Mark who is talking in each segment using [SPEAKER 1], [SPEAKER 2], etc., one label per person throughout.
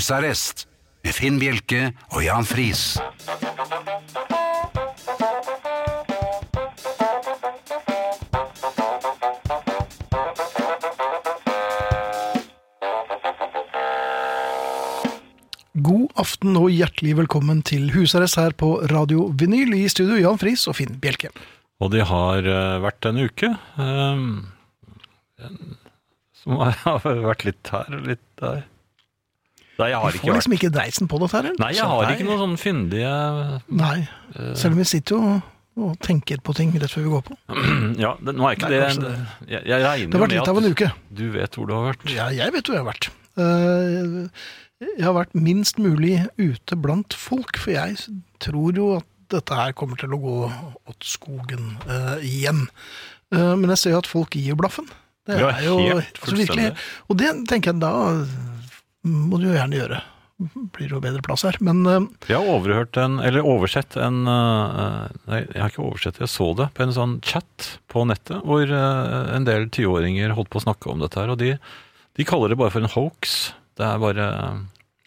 [SPEAKER 1] Husarrest med Finn Bjelke og Jan Friis.
[SPEAKER 2] God aften og hjertelig velkommen til husarrest her på Radio Vinyl. I studio Jan Friis og Finn Bjelke.
[SPEAKER 3] Og de har eh, vært en uke. ehm, en- som har vært litt her og litt der. Nei, jeg har
[SPEAKER 2] Vi får
[SPEAKER 3] ikke vært
[SPEAKER 2] liksom sånn ikke dreisen på dette her. eller?
[SPEAKER 3] Nei, jeg har ikke noen sånne fyndige
[SPEAKER 2] Nei. Selv om vi sitter jo og, og tenker på ting rett før vi går på.
[SPEAKER 3] Ja, det, nå er ikke
[SPEAKER 2] Nei,
[SPEAKER 3] det,
[SPEAKER 2] kanskje
[SPEAKER 3] Jeg, jeg regner
[SPEAKER 2] Det har vært
[SPEAKER 3] jo
[SPEAKER 2] litt av en
[SPEAKER 3] med at
[SPEAKER 2] uke.
[SPEAKER 3] du vet hvor du har vært.
[SPEAKER 2] Ja, jeg vet hvor jeg har vært. Eh, Jeg har vært minst mulig ute blant folk, for jeg tror jo at dette her kommer til å gå åt skogen eh, igjen. Eh, men jeg ser jo at folk gir blaffen. Det
[SPEAKER 3] Ja,
[SPEAKER 2] er jo
[SPEAKER 3] helt
[SPEAKER 2] altså, virkelig
[SPEAKER 3] fullstendig.
[SPEAKER 2] Og det tenker jeg da eh, må du jo gjerne gjøre. Blir det jo bedre plass her. Men eh,
[SPEAKER 3] Jeg har overhørt en, eller oversett en eh, Nei, jeg har ikke oversett det, jeg så det på en sånn chat på nettet hvor eh, en del 20-åringer holdt på å snakke om dette her, og de, de kaller det bare for en hoax. Det er bare eh,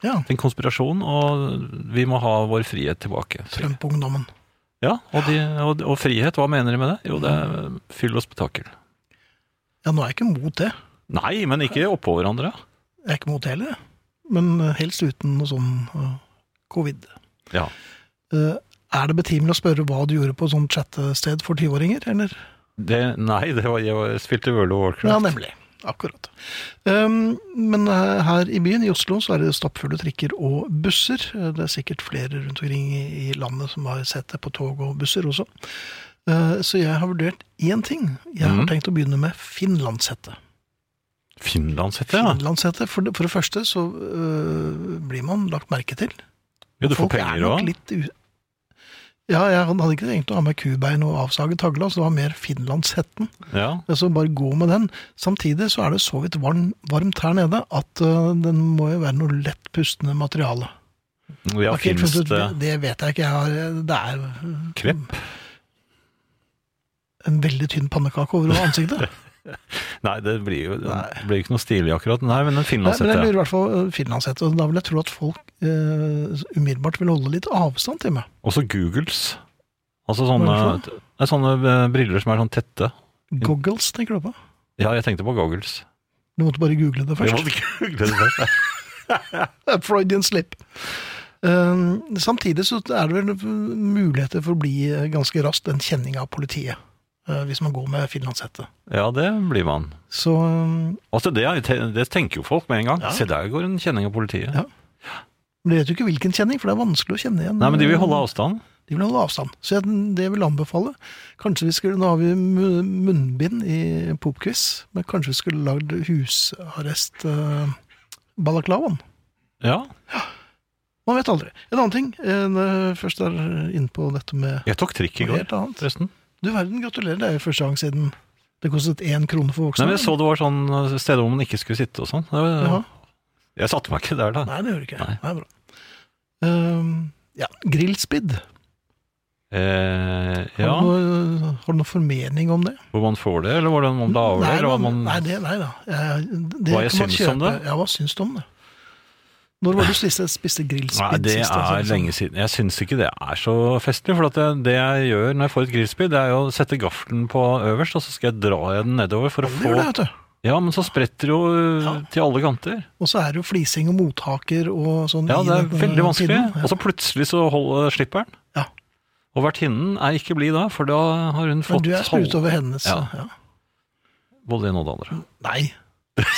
[SPEAKER 2] ja,
[SPEAKER 3] en konspirasjon, og vi må ha vår frihet tilbake. sier de.
[SPEAKER 2] Trump-ungdommen.
[SPEAKER 3] Ja, og, de, og, og frihet, hva mener de med det? Jo, det er eh, fyll og spetakkel.
[SPEAKER 2] Ja, nå er jeg ikke mot det.
[SPEAKER 3] Nei, men ikke oppå hverandre.
[SPEAKER 2] Jeg er ikke mot det heller. jeg. Men eh, helst uten noe sånn eh, covid.
[SPEAKER 3] Ja.
[SPEAKER 2] Eh, er det betimelig å spørre hva du gjorde på et sånt chattested for 20-åringer, eller?
[SPEAKER 3] Det, nei, det var, jeg var- spilte World of Warcraft.
[SPEAKER 2] Ja, nemlig. Akkurat. Um, men eh, her i byen, i Oslo, så er det stappfulle trikker og busser. Eh, Det er sikkert flere rundt omkring i i landet som har sett det på tog og busser også. Eh, Så jeg har vurdert én ting. Jeg har
[SPEAKER 3] Mhm.
[SPEAKER 2] tenkt å begynne med finlandshette.
[SPEAKER 3] Finlandshette, ja.
[SPEAKER 2] Finlandshette, for det, for det første så eh, blir man lagt merke til.
[SPEAKER 3] ja. Du får
[SPEAKER 2] Folk er
[SPEAKER 3] penger
[SPEAKER 2] nok
[SPEAKER 3] òg.
[SPEAKER 2] litt u- Ja, jeg hadde ikke tenkt å ha med kubein og avsaget tagle, altså det var mer finlandshetten.
[SPEAKER 3] Ja.
[SPEAKER 2] Altså bare gå med den. Samtidig så er det så vidt varm, varmt her nede at øh, den må jo være noe lett pustende materiale.
[SPEAKER 3] ja
[SPEAKER 2] Har ikke helt
[SPEAKER 3] Fins
[SPEAKER 2] funnet ut-
[SPEAKER 3] det
[SPEAKER 2] det vet jeg ikke. Jeg har, det er øh,
[SPEAKER 3] krepp?
[SPEAKER 2] en veldig tynn pannekake over ansiktet.
[SPEAKER 3] Nei, det blir jo det
[SPEAKER 2] Nei.
[SPEAKER 3] blir jo ikke noe stilig akkurat. Nei, men
[SPEAKER 2] Nei, men
[SPEAKER 3] en
[SPEAKER 2] jeg
[SPEAKER 3] finlandshette.
[SPEAKER 2] lurer i hvert fall øh, finlandshette, og da vil jeg tro at folk øh, umiddelbart vil holde litt avstand til meg.
[SPEAKER 3] Også Googles. Altså sånne,
[SPEAKER 2] Hva er det
[SPEAKER 3] det er sånne eh, briller som er sånn tette.
[SPEAKER 2] Goggles, tenker du på?
[SPEAKER 3] Ja, jeg tenkte på goggles.
[SPEAKER 2] Du måtte bare google det først.
[SPEAKER 3] Jeg måtte google det først.
[SPEAKER 2] Freudian slip. Eh, samtidig så er det vel muligheter for å bli eh, ganske raskt en kjenning av politiet. eh, hvis man går med finlandshette.
[SPEAKER 3] Ja, det blir man.
[SPEAKER 2] Så eh,
[SPEAKER 3] Altså, det, er- det tenker jo folk med en gang.
[SPEAKER 2] Ja.
[SPEAKER 3] Se, der går en kjenning av politiet.
[SPEAKER 2] Ja. Men jeg vet jo ikke hvilken kjenning, for det er vanskelig å kjenne igjen.
[SPEAKER 3] Nei, men de vil holde avstand.
[SPEAKER 2] De vil holde avstand. Så jeg, det vil jeg anbefale. Kanskje vi skulle, Nå har vi mu- munnbind i popquiz, men kanskje vi skulle lagd husarrest eh, balaklavaen.
[SPEAKER 3] Ja.
[SPEAKER 2] Man vet aldri. En annen ting, eh, når jeg først er inne på dette med
[SPEAKER 3] Jeg tok trikk i
[SPEAKER 2] noe
[SPEAKER 3] går,
[SPEAKER 2] helt annet.
[SPEAKER 3] forresten.
[SPEAKER 2] Du verden, gratulerer. Det er jo første gang siden det kostet én krone for
[SPEAKER 3] Nei,
[SPEAKER 2] voksne.
[SPEAKER 3] men jeg så det var sånn eh, steder hvor man ikke skulle sitte og sånn. Det var-
[SPEAKER 2] Jaha.
[SPEAKER 3] Jeg satte meg ikke der, da.
[SPEAKER 2] Nei, det gjør det ikke.
[SPEAKER 3] Nei.
[SPEAKER 2] Nei. bra. Ehm, ja, grillspidd.
[SPEAKER 3] Eh,
[SPEAKER 2] Har, du
[SPEAKER 3] ja,
[SPEAKER 2] noe, har du noe formening om det?
[SPEAKER 3] Hvor man får det, eller hvordan man det avler,
[SPEAKER 2] nei,
[SPEAKER 3] eller hva man
[SPEAKER 2] nei, det, nei da. Jeg, det
[SPEAKER 3] Hva jeg
[SPEAKER 2] kan man
[SPEAKER 3] syns om
[SPEAKER 2] kjøpe.
[SPEAKER 3] det?
[SPEAKER 2] Ja, hva syns du om det? Når var det du spiste, spiste grillspidd
[SPEAKER 3] Nei, det
[SPEAKER 2] sist? altså,
[SPEAKER 3] er
[SPEAKER 2] liksom?
[SPEAKER 3] lenge siden. Jeg syns ikke det er så festlig. For at det, det jeg gjør når jeg får et grillspyd, det er jo å sette gaffelen på øverst, og så skal jeg dra den nedover for å
[SPEAKER 2] Det gjør det,
[SPEAKER 3] få
[SPEAKER 2] vet du.
[SPEAKER 3] Ja, men så spretter det jo eh,
[SPEAKER 2] Ja.
[SPEAKER 3] til alle kanter.
[SPEAKER 2] Og så er det jo flising og mottaker og sånn.
[SPEAKER 3] Ja,
[SPEAKER 2] i
[SPEAKER 3] det er
[SPEAKER 2] den, eh,
[SPEAKER 3] veldig vanskelig.
[SPEAKER 2] pinnen. Ja.
[SPEAKER 3] Og så plutselig så holder, slipper den.
[SPEAKER 2] Ja.
[SPEAKER 3] Og vertinnen er ikke blid da, for da har hun
[SPEAKER 2] Men
[SPEAKER 3] fått
[SPEAKER 2] du er sprut
[SPEAKER 3] halv-
[SPEAKER 2] over hennes.
[SPEAKER 3] Ja.
[SPEAKER 2] Ja.
[SPEAKER 3] både det ene og det andre.
[SPEAKER 2] Nei,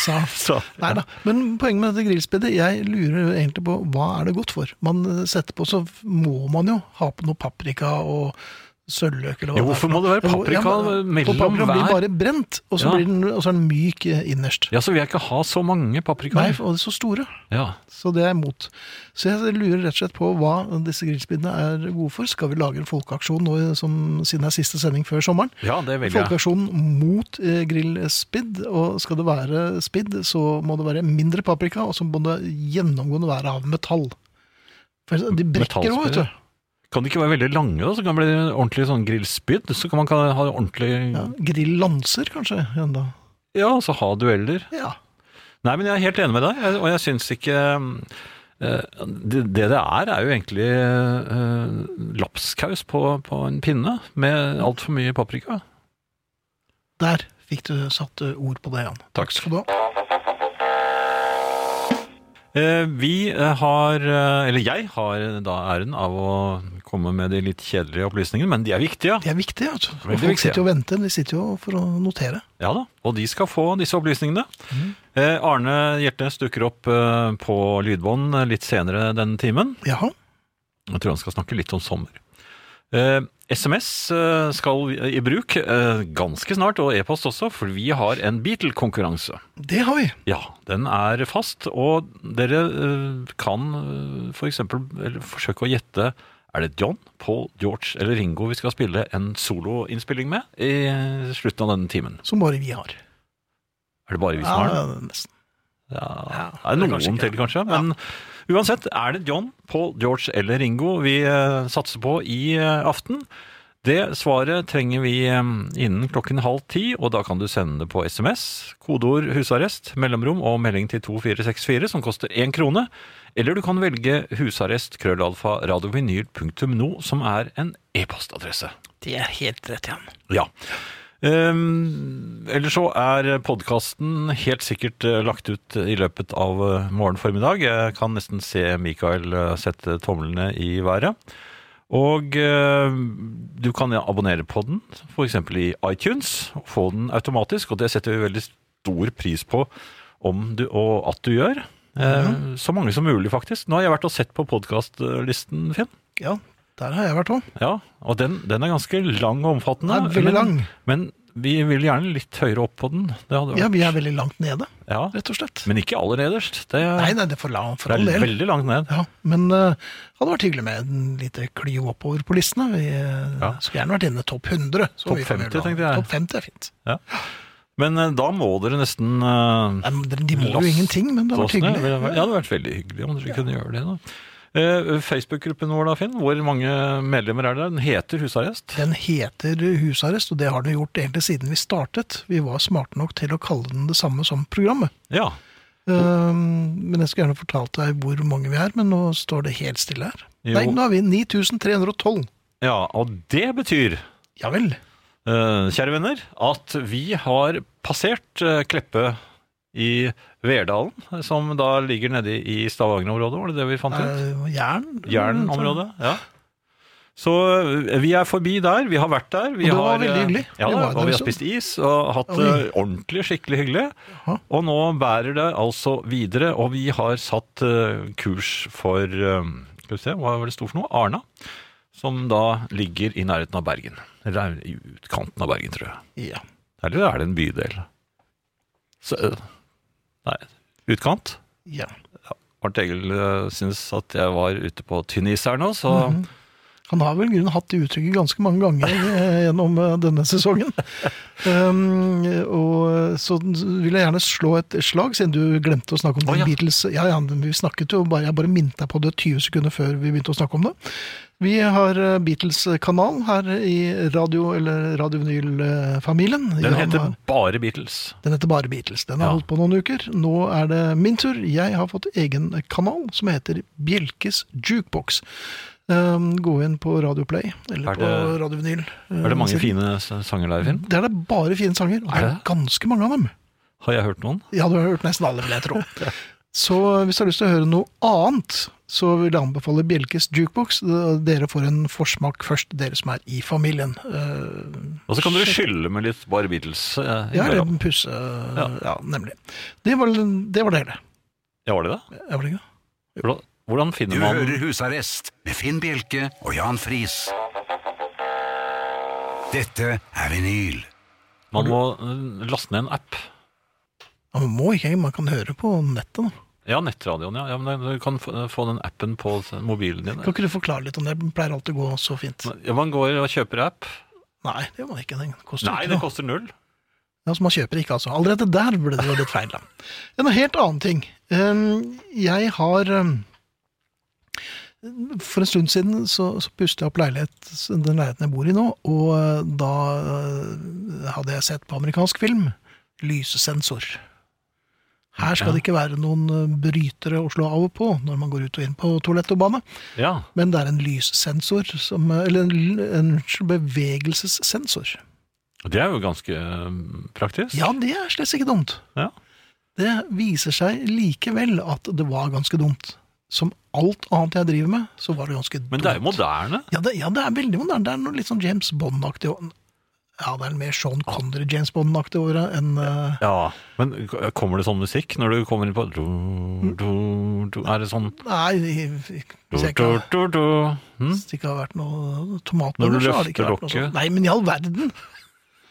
[SPEAKER 2] sa
[SPEAKER 3] Så,
[SPEAKER 2] Nei da. Men poenget med dette grillspiddet, jeg lurer egentlig på hva er det godt for? Man eh, setter på, så må man jo ha på noe paprika og sølvløk eller hva
[SPEAKER 3] Jo, hvorfor må det være paprika mellom
[SPEAKER 2] eh, Paprika blir
[SPEAKER 3] hver?
[SPEAKER 2] bare brent, og så,
[SPEAKER 3] Ja.
[SPEAKER 2] blir den, og så er den myk eh, innerst.
[SPEAKER 3] ja, så vil jeg ikke ha så mange
[SPEAKER 2] Nei,
[SPEAKER 3] paprikaer.
[SPEAKER 2] og det er så store,
[SPEAKER 3] Ja.
[SPEAKER 2] så det er jeg imot. Så jeg lurer rett og slett på hva disse grillspiddene er gode for. Skal vi lage en folkeaksjon nå, eh, som, siden det er siste sending før sommeren?
[SPEAKER 3] ja, det vil jeg.
[SPEAKER 2] Folkeaksjon mot eh, grillspidd, og skal det være spidd, så må det være mindre paprika, og så må det gjennomgående være av metall. For de brekker òg, vet
[SPEAKER 3] Metallspidd,
[SPEAKER 2] du.
[SPEAKER 3] Kan de ikke være veldig lange, da? Så kan det bli ordentlig sånn grillspyd. Så kan man kan ha ordentlig
[SPEAKER 2] Ja, Grillanser, kanskje. Enda.
[SPEAKER 3] Ja, og så ha dueller.
[SPEAKER 2] Ja.
[SPEAKER 3] Nei, men jeg er helt enig med deg, jeg- og jeg syns ikke eh, det, det det er, er jo egentlig eh, lapskaus på, på en pinne med altfor mye paprika.
[SPEAKER 2] Der fikk du satt eh, ord på det, Jan.
[SPEAKER 3] Takk.
[SPEAKER 2] skal du ha.
[SPEAKER 3] Eh, Vi eh, har, eh, eller jeg har da æren av å komme med de litt kjedelige opplysningene, men de er viktige.
[SPEAKER 2] De er viktige, altså.
[SPEAKER 3] Veldig
[SPEAKER 2] Folk
[SPEAKER 3] viktige.
[SPEAKER 2] sitter jo og venter, de sitter jo for å notere.
[SPEAKER 3] Ja da, og de skal få disse opplysningene. Eh, Arne Hjertnes dukker opp eh, på lydbånd eh, litt senere denne timen.
[SPEAKER 2] Jaha.
[SPEAKER 3] Jeg tror han skal snakke litt om sommer. Eh, SMS eh, skal vi- i bruk eh, ganske snart, og e-post også, for vi har en Beatle-konkurranse.
[SPEAKER 2] Det har vi.
[SPEAKER 3] Ja, den er fast, og dere eh, kan eh, for eksempel eller forsøke å gjette er det John, Paul, George eller Ringo vi skal spille en soloinnspilling med i eh, slutten av denne timen?
[SPEAKER 2] Som bare vi har.
[SPEAKER 3] Er det bare vi som har den?
[SPEAKER 2] Ja, nesten.
[SPEAKER 3] Ja,
[SPEAKER 2] Ja,
[SPEAKER 3] det er
[SPEAKER 2] det er
[SPEAKER 3] noen
[SPEAKER 2] kanskje ikke,
[SPEAKER 3] til, kanskje. Men uansett, er det John, Paul, George eller Ringo vi eh, satser på i eh, aften? Det svaret trenger vi eh, innen klokken halv ti, og da kan du sende det på SMS, kodeord 'husarrest', mellomrom og melding til 2464, som koster én krone. Eller du kan velge husarrest krøllalfa radiovinyl.no, som er en e-postadresse.
[SPEAKER 2] Det er helt rett, Jan.
[SPEAKER 3] Ja. Um, Eller så er podkasten helt sikkert eh, lagt ut i løpet av eh, morgen formiddag. Jeg kan nesten se Mikael eh, sette tomlene i været. Og eh, du kan abonnere på den, f.eks. i iTunes. og Få den automatisk, og det setter vi veldig stor pris på om du, og at du gjør. Eh, Så mange som mulig, faktisk. Nå har jeg vært og sett på podkastlisten, Finn.
[SPEAKER 2] Ja, der har jeg vært òg.
[SPEAKER 3] Ja, og den, den er ganske lang og omfattende.
[SPEAKER 2] Den er veldig
[SPEAKER 3] men-
[SPEAKER 2] lang.
[SPEAKER 3] men vi vil gjerne litt høyere opp på den. Det hadde vært,
[SPEAKER 2] Ja, vi er veldig langt nede,
[SPEAKER 3] Ja,
[SPEAKER 2] rett og slett.
[SPEAKER 3] Men ikke aller nederst. Det,
[SPEAKER 2] Nei, nei, det er for langt for
[SPEAKER 3] det
[SPEAKER 2] all del.
[SPEAKER 3] er veldig langt ned.
[SPEAKER 2] Ja, men eh, det hadde vært hyggelig med en lite klio oppover på listene. Vi eh,
[SPEAKER 3] Ja.
[SPEAKER 2] skulle gjerne vært inne i topp 100. så
[SPEAKER 3] Topp
[SPEAKER 2] vi kan
[SPEAKER 3] 50,
[SPEAKER 2] vel ha-
[SPEAKER 3] tenkte jeg.
[SPEAKER 2] Topp 50 er fint.
[SPEAKER 3] Men eh, da må dere nesten eh,
[SPEAKER 2] Nei, men de- de må jo
[SPEAKER 3] Last
[SPEAKER 2] ingenting, men det hadde vært
[SPEAKER 3] laste ned.
[SPEAKER 2] hyggelig.
[SPEAKER 3] Ja, det hadde vært veldig hyggelig om dere kunne gjøre det. da. Eh, Facebook-gruppen vår, da, Finn, hvor mange medlemmer er det? Den heter Husarrest.
[SPEAKER 2] Den heter husarrest, og det har den gjort egentlig siden vi startet. Vi var smarte nok til å kalle den det samme som programmet.
[SPEAKER 3] Ja.
[SPEAKER 2] Ehm, men jeg skulle gjerne fortalt deg hvor mange vi er, men nå står det helt stille her.
[SPEAKER 3] Jo.
[SPEAKER 2] Nei, nå er vi 9312.
[SPEAKER 3] ja. Og det betyr,
[SPEAKER 2] Ja vel.
[SPEAKER 3] eh, kjære venner, at vi har passert eh, Kleppe i Verdalen, som da ligger nede i Stavanger-området, var det det vi fant ut?
[SPEAKER 2] Eh, sånn. Jæren?
[SPEAKER 3] Jernområdet, ja. Så ø, vi er forbi der, vi har vært der. Vi
[SPEAKER 2] Og det var
[SPEAKER 3] har, eh,
[SPEAKER 2] veldig
[SPEAKER 3] ø,
[SPEAKER 2] hyggelig.
[SPEAKER 3] Ja,
[SPEAKER 2] Vi
[SPEAKER 3] da,
[SPEAKER 2] var der en
[SPEAKER 3] og vi har
[SPEAKER 2] stund.
[SPEAKER 3] spist is og hatt
[SPEAKER 2] Ja,
[SPEAKER 3] det
[SPEAKER 2] vi-
[SPEAKER 3] ordentlig skikkelig hyggelig.
[SPEAKER 2] Jaha.
[SPEAKER 3] Og nå bærer det altså videre, og vi har satt ø, kurs for ø, Skal vi se, hva var det stort for noe? Arna. Som da ligger i nærheten av Bergen. Eller i utkanten av Bergen, tror jeg.
[SPEAKER 2] Ja.
[SPEAKER 3] Eller er det en bydel? Så, ø, nei, utkant?
[SPEAKER 2] ja.
[SPEAKER 3] Arnt Egil ø, syns at jeg var ute på tynn is her nå, så
[SPEAKER 2] Han har vel i grunnen hatt det uttrykket ganske mange ganger eh, gjennom eh, denne sesongen. Um, og så vil jeg gjerne slå et slag, siden du glemte å snakke om
[SPEAKER 3] Å,
[SPEAKER 2] The
[SPEAKER 3] ja.
[SPEAKER 2] Beatles. Ja, ja, vi snakket jo, bare, jeg bare minnet deg på det 20 sekunder før vi begynte å snakke om det. Vi har eh, Beatles-kanal her i radio, eller radiovinyl-familien.
[SPEAKER 3] Den heter bare Beatles.
[SPEAKER 2] Den heter bare Beatles. Den har
[SPEAKER 3] Ja.
[SPEAKER 2] holdt på noen uker. Nå er det min tur. Jeg har fått egen kanal som heter Bjelkes jukebox. Um, gå inn på Radioplay eller
[SPEAKER 3] Er
[SPEAKER 2] på
[SPEAKER 3] det-
[SPEAKER 2] Radio Vinyl.
[SPEAKER 3] Er det mange fine s- sanger der, Finn?
[SPEAKER 2] Der er det bare fine sanger. Og det
[SPEAKER 3] Er
[SPEAKER 2] er
[SPEAKER 3] det?
[SPEAKER 2] ganske mange av dem.
[SPEAKER 3] Har jeg hørt noen?
[SPEAKER 2] Ja, du har hørt nesten alle, vil jeg tro. Så hvis du har lyst til å høre noe annet, så vil jeg anbefale Bjelkes jukebox. Dere får en forsmak først, dere som er i familien. Uh,
[SPEAKER 3] Og så kan dere skylle med litt bare Beatles. eh,
[SPEAKER 2] ja, eller
[SPEAKER 3] innimellom.
[SPEAKER 2] en pusse ja. nemlig. Det var det, var det hele.
[SPEAKER 3] ja, var det det?
[SPEAKER 2] Jeg var det ikke?
[SPEAKER 3] Hvordan- Hvordan finner
[SPEAKER 1] Du
[SPEAKER 3] man
[SPEAKER 1] hører Husarrest med Finn Bjelke og Jan Friis. Dette er vinyl.
[SPEAKER 3] Man må eh, laste ned en app.
[SPEAKER 2] Ja, man må ikke, man kan høre på nettet. Da.
[SPEAKER 3] Ja, nettradioen, ja. ja men du kan få få den appen på mobilen din.
[SPEAKER 2] Kan ikke du forklare litt om det? Det pleier alltid å gå så fint.
[SPEAKER 3] Ja, man går og kjøper app.
[SPEAKER 2] Nei, det gjør man ikke. Den koster
[SPEAKER 3] Nei,
[SPEAKER 2] ikke
[SPEAKER 3] det
[SPEAKER 2] noe.
[SPEAKER 3] koster null.
[SPEAKER 2] Ja, så man kjøper ikke, altså. Allerede der ble det jo litt feil, da. En helt annen ting. Um, Jeg har um, For en stund siden så, så pustet jeg opp leilighet, den leiligheten jeg bor i nå, og uh, da eh, uh, hadde jeg sett på amerikansk film. Lysesensor. Her skal det ikke være noen eh, brytere å slå av og på når man går ut og inn på toalett og bane.
[SPEAKER 3] Ja.
[SPEAKER 2] Men det er en lyssensor, som, eller en, en bevegelsessensor.
[SPEAKER 3] Det er jo ganske eh, praktisk.
[SPEAKER 2] Ja, det er slett ikke dumt.
[SPEAKER 3] Ja.
[SPEAKER 2] Det viser seg likevel at det var ganske dumt. Som alt annet jeg driver med, så var det ganske dumt.
[SPEAKER 3] Men det er jo moderne.
[SPEAKER 2] Ja, det, ja, det er veldig moderne. Det er noe litt sånn James Bond-aktig. og- Ja, det er mer Sean Connery-James Bond-aktig over det enn eh,
[SPEAKER 3] Ja, Men k- kommer det sånn musikk når du kommer inn på du, du, du, Er det sånn
[SPEAKER 2] Nei, i- i-
[SPEAKER 3] du,
[SPEAKER 2] hvis jeg
[SPEAKER 3] du,
[SPEAKER 2] ikke,
[SPEAKER 3] du, du. Hm?
[SPEAKER 2] hvis det ikke har vært noe
[SPEAKER 3] Når
[SPEAKER 2] tomatbønner,
[SPEAKER 3] du
[SPEAKER 2] så har det ikke vært
[SPEAKER 3] løfter
[SPEAKER 2] noe
[SPEAKER 3] lokket.
[SPEAKER 2] sånt. Nei, men i all verden!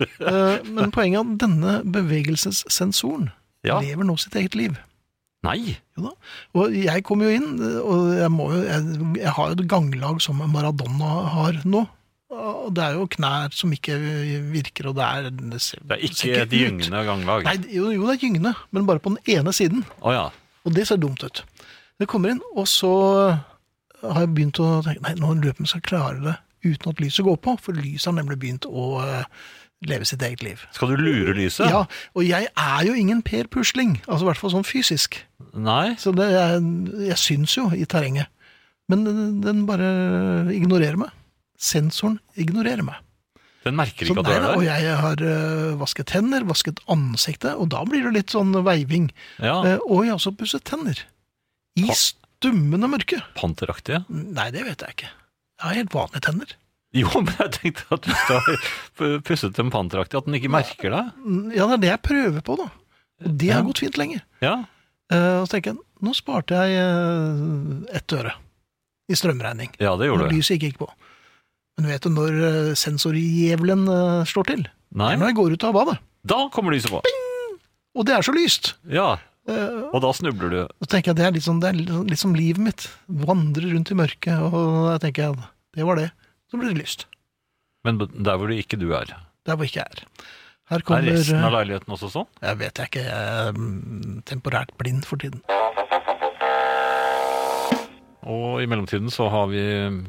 [SPEAKER 2] Eh, men poenget er at denne bevegelsessensoren
[SPEAKER 3] Ja.
[SPEAKER 2] lever nå sitt eget liv.
[SPEAKER 3] Nei!
[SPEAKER 2] Jo da. Og jeg kom jo inn, og jeg, må jo, jeg, jeg har jo et ganglag som Maradona har nå. Og det er jo knær som ikke virker, og det er Det, ser,
[SPEAKER 3] Det er
[SPEAKER 2] ser
[SPEAKER 3] ikke de
[SPEAKER 2] ut.
[SPEAKER 3] gyngende ganglag.
[SPEAKER 2] Nei, jo, jo, det er gyngende, men bare på den ene siden.
[SPEAKER 3] Å ja.
[SPEAKER 2] Og det ser dumt ut. Jeg kommer inn, og så har jeg begynt å tenke Nei, nå løper vi skal klare det uten at lyset går på, for lyset har nemlig begynt å eh, leve sitt eget liv.
[SPEAKER 3] Skal du lure lyset?
[SPEAKER 2] Ja, Og jeg er jo ingen Per Pusling, altså i hvert fall sånn fysisk.
[SPEAKER 3] Nei?
[SPEAKER 2] Så det, jeg, jeg syns jo i terrenget. Men den, den bare ignorerer meg. Sensoren ignorerer meg.
[SPEAKER 3] Den merker
[SPEAKER 2] Så
[SPEAKER 3] ikke at du
[SPEAKER 2] nei,
[SPEAKER 3] er
[SPEAKER 2] da, og
[SPEAKER 3] der?
[SPEAKER 2] jeg har øh, vasket hender, vasket ansiktet, og da blir det litt sånn veiving.
[SPEAKER 3] Ja,
[SPEAKER 2] Eh, og jeg har også pusset tenner. I
[SPEAKER 3] Ha.
[SPEAKER 2] stummende mørke.
[SPEAKER 3] Panteraktige?
[SPEAKER 2] Nei, det vet jeg ikke. Jeg har helt vanlige tenner.
[SPEAKER 3] Jo, men jeg tenkte at hvis du har pusset dem panteraktig, at den ikke merker deg.
[SPEAKER 2] Mm, Ja, det er det jeg prøver på, da. Og det
[SPEAKER 3] Ja.
[SPEAKER 2] har gått fint lenge.
[SPEAKER 3] Ja,
[SPEAKER 2] Eh, og så tenker jeg, nå sparte jeg eh, ett øre i strømregning.
[SPEAKER 3] ja det gjorde
[SPEAKER 2] når
[SPEAKER 3] du.
[SPEAKER 2] lyset ikke gikk på. Men vet du når eh, sensorjævelen eh, slår til? Det
[SPEAKER 3] Nei,
[SPEAKER 2] er når jeg går ut av badet.
[SPEAKER 3] da kommer lyset på.
[SPEAKER 2] Og det er så lyst!
[SPEAKER 3] Ja,
[SPEAKER 2] Eh,
[SPEAKER 3] og da snubler du.
[SPEAKER 2] Og så tenker jeg at det er litt som, det er litt litt som livet mitt. Vandrer rundt i mørket, og jeg tenker at det var det. Så blir det lyst.
[SPEAKER 3] Men der hvor du ikke du er.
[SPEAKER 2] Der hvor ikke jeg er. Her
[SPEAKER 3] Er
[SPEAKER 2] kommer
[SPEAKER 3] resten av
[SPEAKER 2] eh,
[SPEAKER 3] leiligheten også sånn?
[SPEAKER 2] Jeg vet jeg ikke. Jeg er mm, temporært blind for tiden.
[SPEAKER 3] Og i mellomtiden så har vi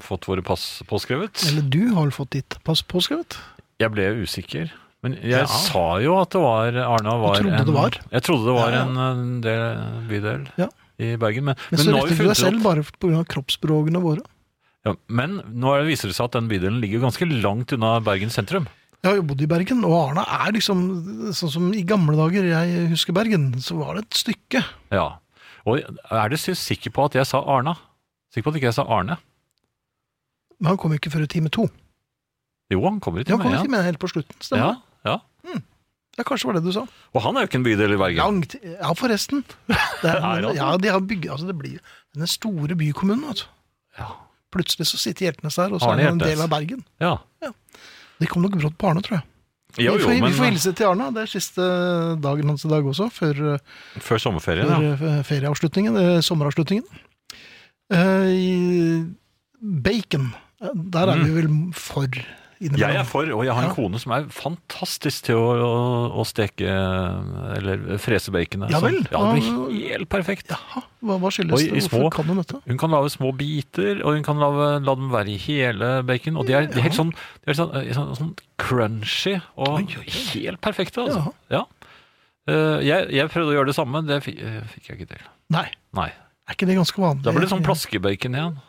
[SPEAKER 3] fått våre pass påskrevet.
[SPEAKER 2] Eller du har vel fått ditt pass påskrevet?
[SPEAKER 3] Jeg ble usikker. Men jeg
[SPEAKER 2] Ja.
[SPEAKER 3] sa jo at det var Arna var
[SPEAKER 2] trodde
[SPEAKER 3] en
[SPEAKER 2] det var?
[SPEAKER 3] Jeg trodde det var
[SPEAKER 2] Ja, ja.
[SPEAKER 3] en, en eh, del bydel
[SPEAKER 2] Ja.
[SPEAKER 3] i Bergen. Men,
[SPEAKER 2] Men,
[SPEAKER 3] men
[SPEAKER 2] så
[SPEAKER 3] nå har vi
[SPEAKER 2] retter du deg
[SPEAKER 3] funnet
[SPEAKER 2] selv
[SPEAKER 3] ut
[SPEAKER 2] bare pga. kroppsspråkene våre.
[SPEAKER 3] ja, Men nå er det- viser det seg at den bydelen ligger ganske langt unna Bergen sentrum.
[SPEAKER 2] Jeg har jo bodd i Bergen, og Arna er liksom sånn som i gamle dager jeg husker Bergen, så var det et stykke.
[SPEAKER 3] Ja. Og er du så sikker på at jeg sa Arna? Sikker på at ikke jeg sa Arne?
[SPEAKER 2] Men han kom jo ikke før i time to.
[SPEAKER 3] Jo, han kommer hit.
[SPEAKER 2] Ja, han kom i
[SPEAKER 3] ja.
[SPEAKER 2] time helt på slutten,
[SPEAKER 3] ja,
[SPEAKER 2] stemmer det?
[SPEAKER 3] ja.
[SPEAKER 2] Ja, kanskje var det du sa.
[SPEAKER 3] Og han er jo ikke en bydel i Bergen.
[SPEAKER 2] Langt Ja, forresten. Det er,
[SPEAKER 3] Er han?
[SPEAKER 2] ja, de har bygget Altså, det blir jo den store bykommunen, vet du.
[SPEAKER 3] Ja.
[SPEAKER 2] Plutselig så sitter Hjeltnes der, og så
[SPEAKER 3] Arne
[SPEAKER 2] er han en
[SPEAKER 3] Hjeltnes.
[SPEAKER 2] del av Bergen.
[SPEAKER 3] ja.
[SPEAKER 2] Det kom nok brått på Arne, tror jeg.
[SPEAKER 3] Jo,
[SPEAKER 2] vi,
[SPEAKER 3] jo,
[SPEAKER 2] får,
[SPEAKER 3] men
[SPEAKER 2] vi får hilse til Arne. Det er siste dagen hans i dag også, før,
[SPEAKER 3] før sommerferien,
[SPEAKER 2] før
[SPEAKER 3] ja.
[SPEAKER 2] eh, ferieavslutningen, eh, sommeravslutningen. Eh, i bacon. Eh, Der er
[SPEAKER 3] Mm.
[SPEAKER 2] vi vel for innimellom.
[SPEAKER 3] Jeg er for, og jeg har en
[SPEAKER 2] Ja.
[SPEAKER 3] kone som er fantastisk til å, å, å steke eh, eller frese baconet.
[SPEAKER 2] Ja vel.
[SPEAKER 3] Så- Ja, det blir helt perfekt.
[SPEAKER 2] Jaha, hva, hva skyldes
[SPEAKER 3] Og i-
[SPEAKER 2] det?
[SPEAKER 3] i små-
[SPEAKER 2] Hvorfor kan hun dette?
[SPEAKER 3] Hun kan lage små biter, og hun kan lage, la dem være i hele bacon. Og de er, de er helt sånn, de er sånn, eh, sånn, sånn crunchy og
[SPEAKER 2] Oi, oi, oi.
[SPEAKER 3] helt perfekte, altså. Ja. Eh, jeg, jeg prøvde å gjøre det samme, det fikk, eh, fikk jeg ikke til.
[SPEAKER 2] Nei,
[SPEAKER 3] Nei.
[SPEAKER 2] er ikke det ganske vanlig?
[SPEAKER 3] Da ble det sånn plaskebacon igjen.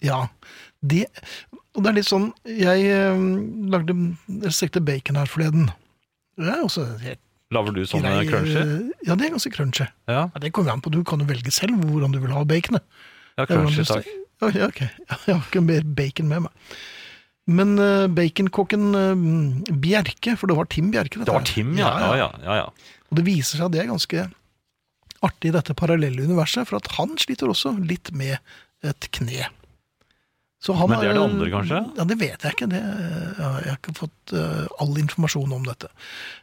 [SPEAKER 2] Ja. Det, og det er litt sånn Jeg eh, lagde jeg stekte bacon her forleden. Det er også helt
[SPEAKER 3] Lager du sånne
[SPEAKER 2] grei, eh,
[SPEAKER 3] Sånn crunchy?
[SPEAKER 2] Ja, det er ganske crunchy.
[SPEAKER 3] Ja,
[SPEAKER 2] Ja, det kommer an på, Du kan jo velge selv hvordan du vil ha baconet.
[SPEAKER 3] ja
[SPEAKER 2] Det er
[SPEAKER 3] crunchy,
[SPEAKER 2] hvordan
[SPEAKER 3] takk.
[SPEAKER 2] du- Ja, ja, ok. Jeg har ikke mer bacon med meg. Men eh, baconkokken eh, Bjerke, for det var Tim Bjerke dette
[SPEAKER 3] Det var
[SPEAKER 2] her.
[SPEAKER 3] Tim, ja. Ja, ja, ja, ja.
[SPEAKER 2] Og det viser seg at det er ganske artig i dette parallelle universet, for at han sliter også litt med et kne. Så han
[SPEAKER 3] Men det er det
[SPEAKER 2] eh,
[SPEAKER 3] andre, kanskje?
[SPEAKER 2] Ja, Det vet jeg ikke. Det, eh, jeg har ikke fått eh, all informasjon om dette.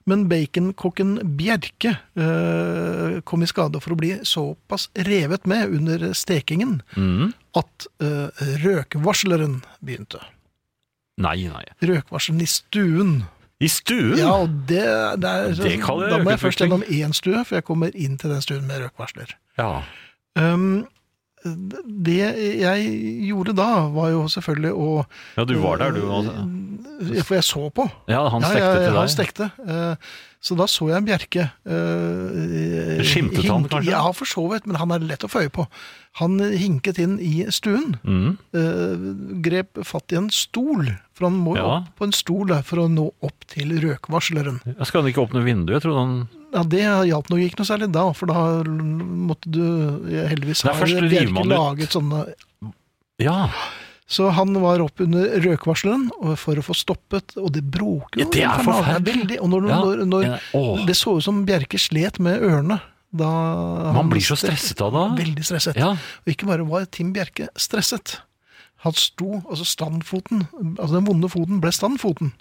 [SPEAKER 2] Men baconkokken Bjerke eh, kom i skade for å bli såpass revet med under stekingen
[SPEAKER 3] Mm.
[SPEAKER 2] at eh, røkvarsleren begynte.
[SPEAKER 3] Nei, nei.
[SPEAKER 2] Røkvarsleren i stuen
[SPEAKER 3] I stuen?
[SPEAKER 2] ja, og det, det er,
[SPEAKER 3] Mm.
[SPEAKER 2] altså,
[SPEAKER 3] Det kaller jeg
[SPEAKER 2] Da må jeg først
[SPEAKER 3] røykutveksling.
[SPEAKER 2] gjennom én stue, for jeg kommer inn til den stuen med røykvarsler.
[SPEAKER 3] Ja.
[SPEAKER 2] Um, det jeg gjorde da, var jo selvfølgelig å
[SPEAKER 3] Ja, du var der, du. Altså.
[SPEAKER 2] Eh, For jeg så på.
[SPEAKER 3] Ja, han
[SPEAKER 2] Ja,
[SPEAKER 3] stekte
[SPEAKER 2] ja, ja,
[SPEAKER 3] til
[SPEAKER 2] han
[SPEAKER 3] deg.
[SPEAKER 2] stekte. Eh, Så da så jeg Bjerke. eh,
[SPEAKER 3] Skimtet han,
[SPEAKER 2] hinke-
[SPEAKER 3] kanskje?
[SPEAKER 2] Ja, for så vidt, men han er lett å få øye på. Han hinket inn i stuen,
[SPEAKER 3] Mm.
[SPEAKER 2] eh, grep fatt i en stol, for han må jo
[SPEAKER 3] Ja.
[SPEAKER 2] opp på en stol der for å nå opp til røkvarsleren.
[SPEAKER 3] Ja, Skal han ikke åpne vinduet? Jeg trodde han
[SPEAKER 2] Ja, Det hjalp noe ikke noe særlig da, for da måtte du jeg heldigvis
[SPEAKER 3] Nei,
[SPEAKER 2] har
[SPEAKER 3] først river
[SPEAKER 2] Bjerke
[SPEAKER 3] man ut.
[SPEAKER 2] laget sånne
[SPEAKER 3] Ja!
[SPEAKER 2] Så han var opp under røkvarsleren og- for å få stoppet, og det bråker
[SPEAKER 3] Ja, det er
[SPEAKER 2] infernalt. Det er
[SPEAKER 3] forferdelig.
[SPEAKER 2] veldig- Og når,
[SPEAKER 3] ja.
[SPEAKER 2] når, når,
[SPEAKER 3] Åh,
[SPEAKER 2] Det så ut som Bjerke slet med ørene. Da
[SPEAKER 3] man blir så stresset av det.
[SPEAKER 2] Veldig stresset.
[SPEAKER 3] Ja.
[SPEAKER 2] Og ikke bare var Tim Bjerke stresset. Han sto, altså standfoten, altså den vonde foten ble standfoten.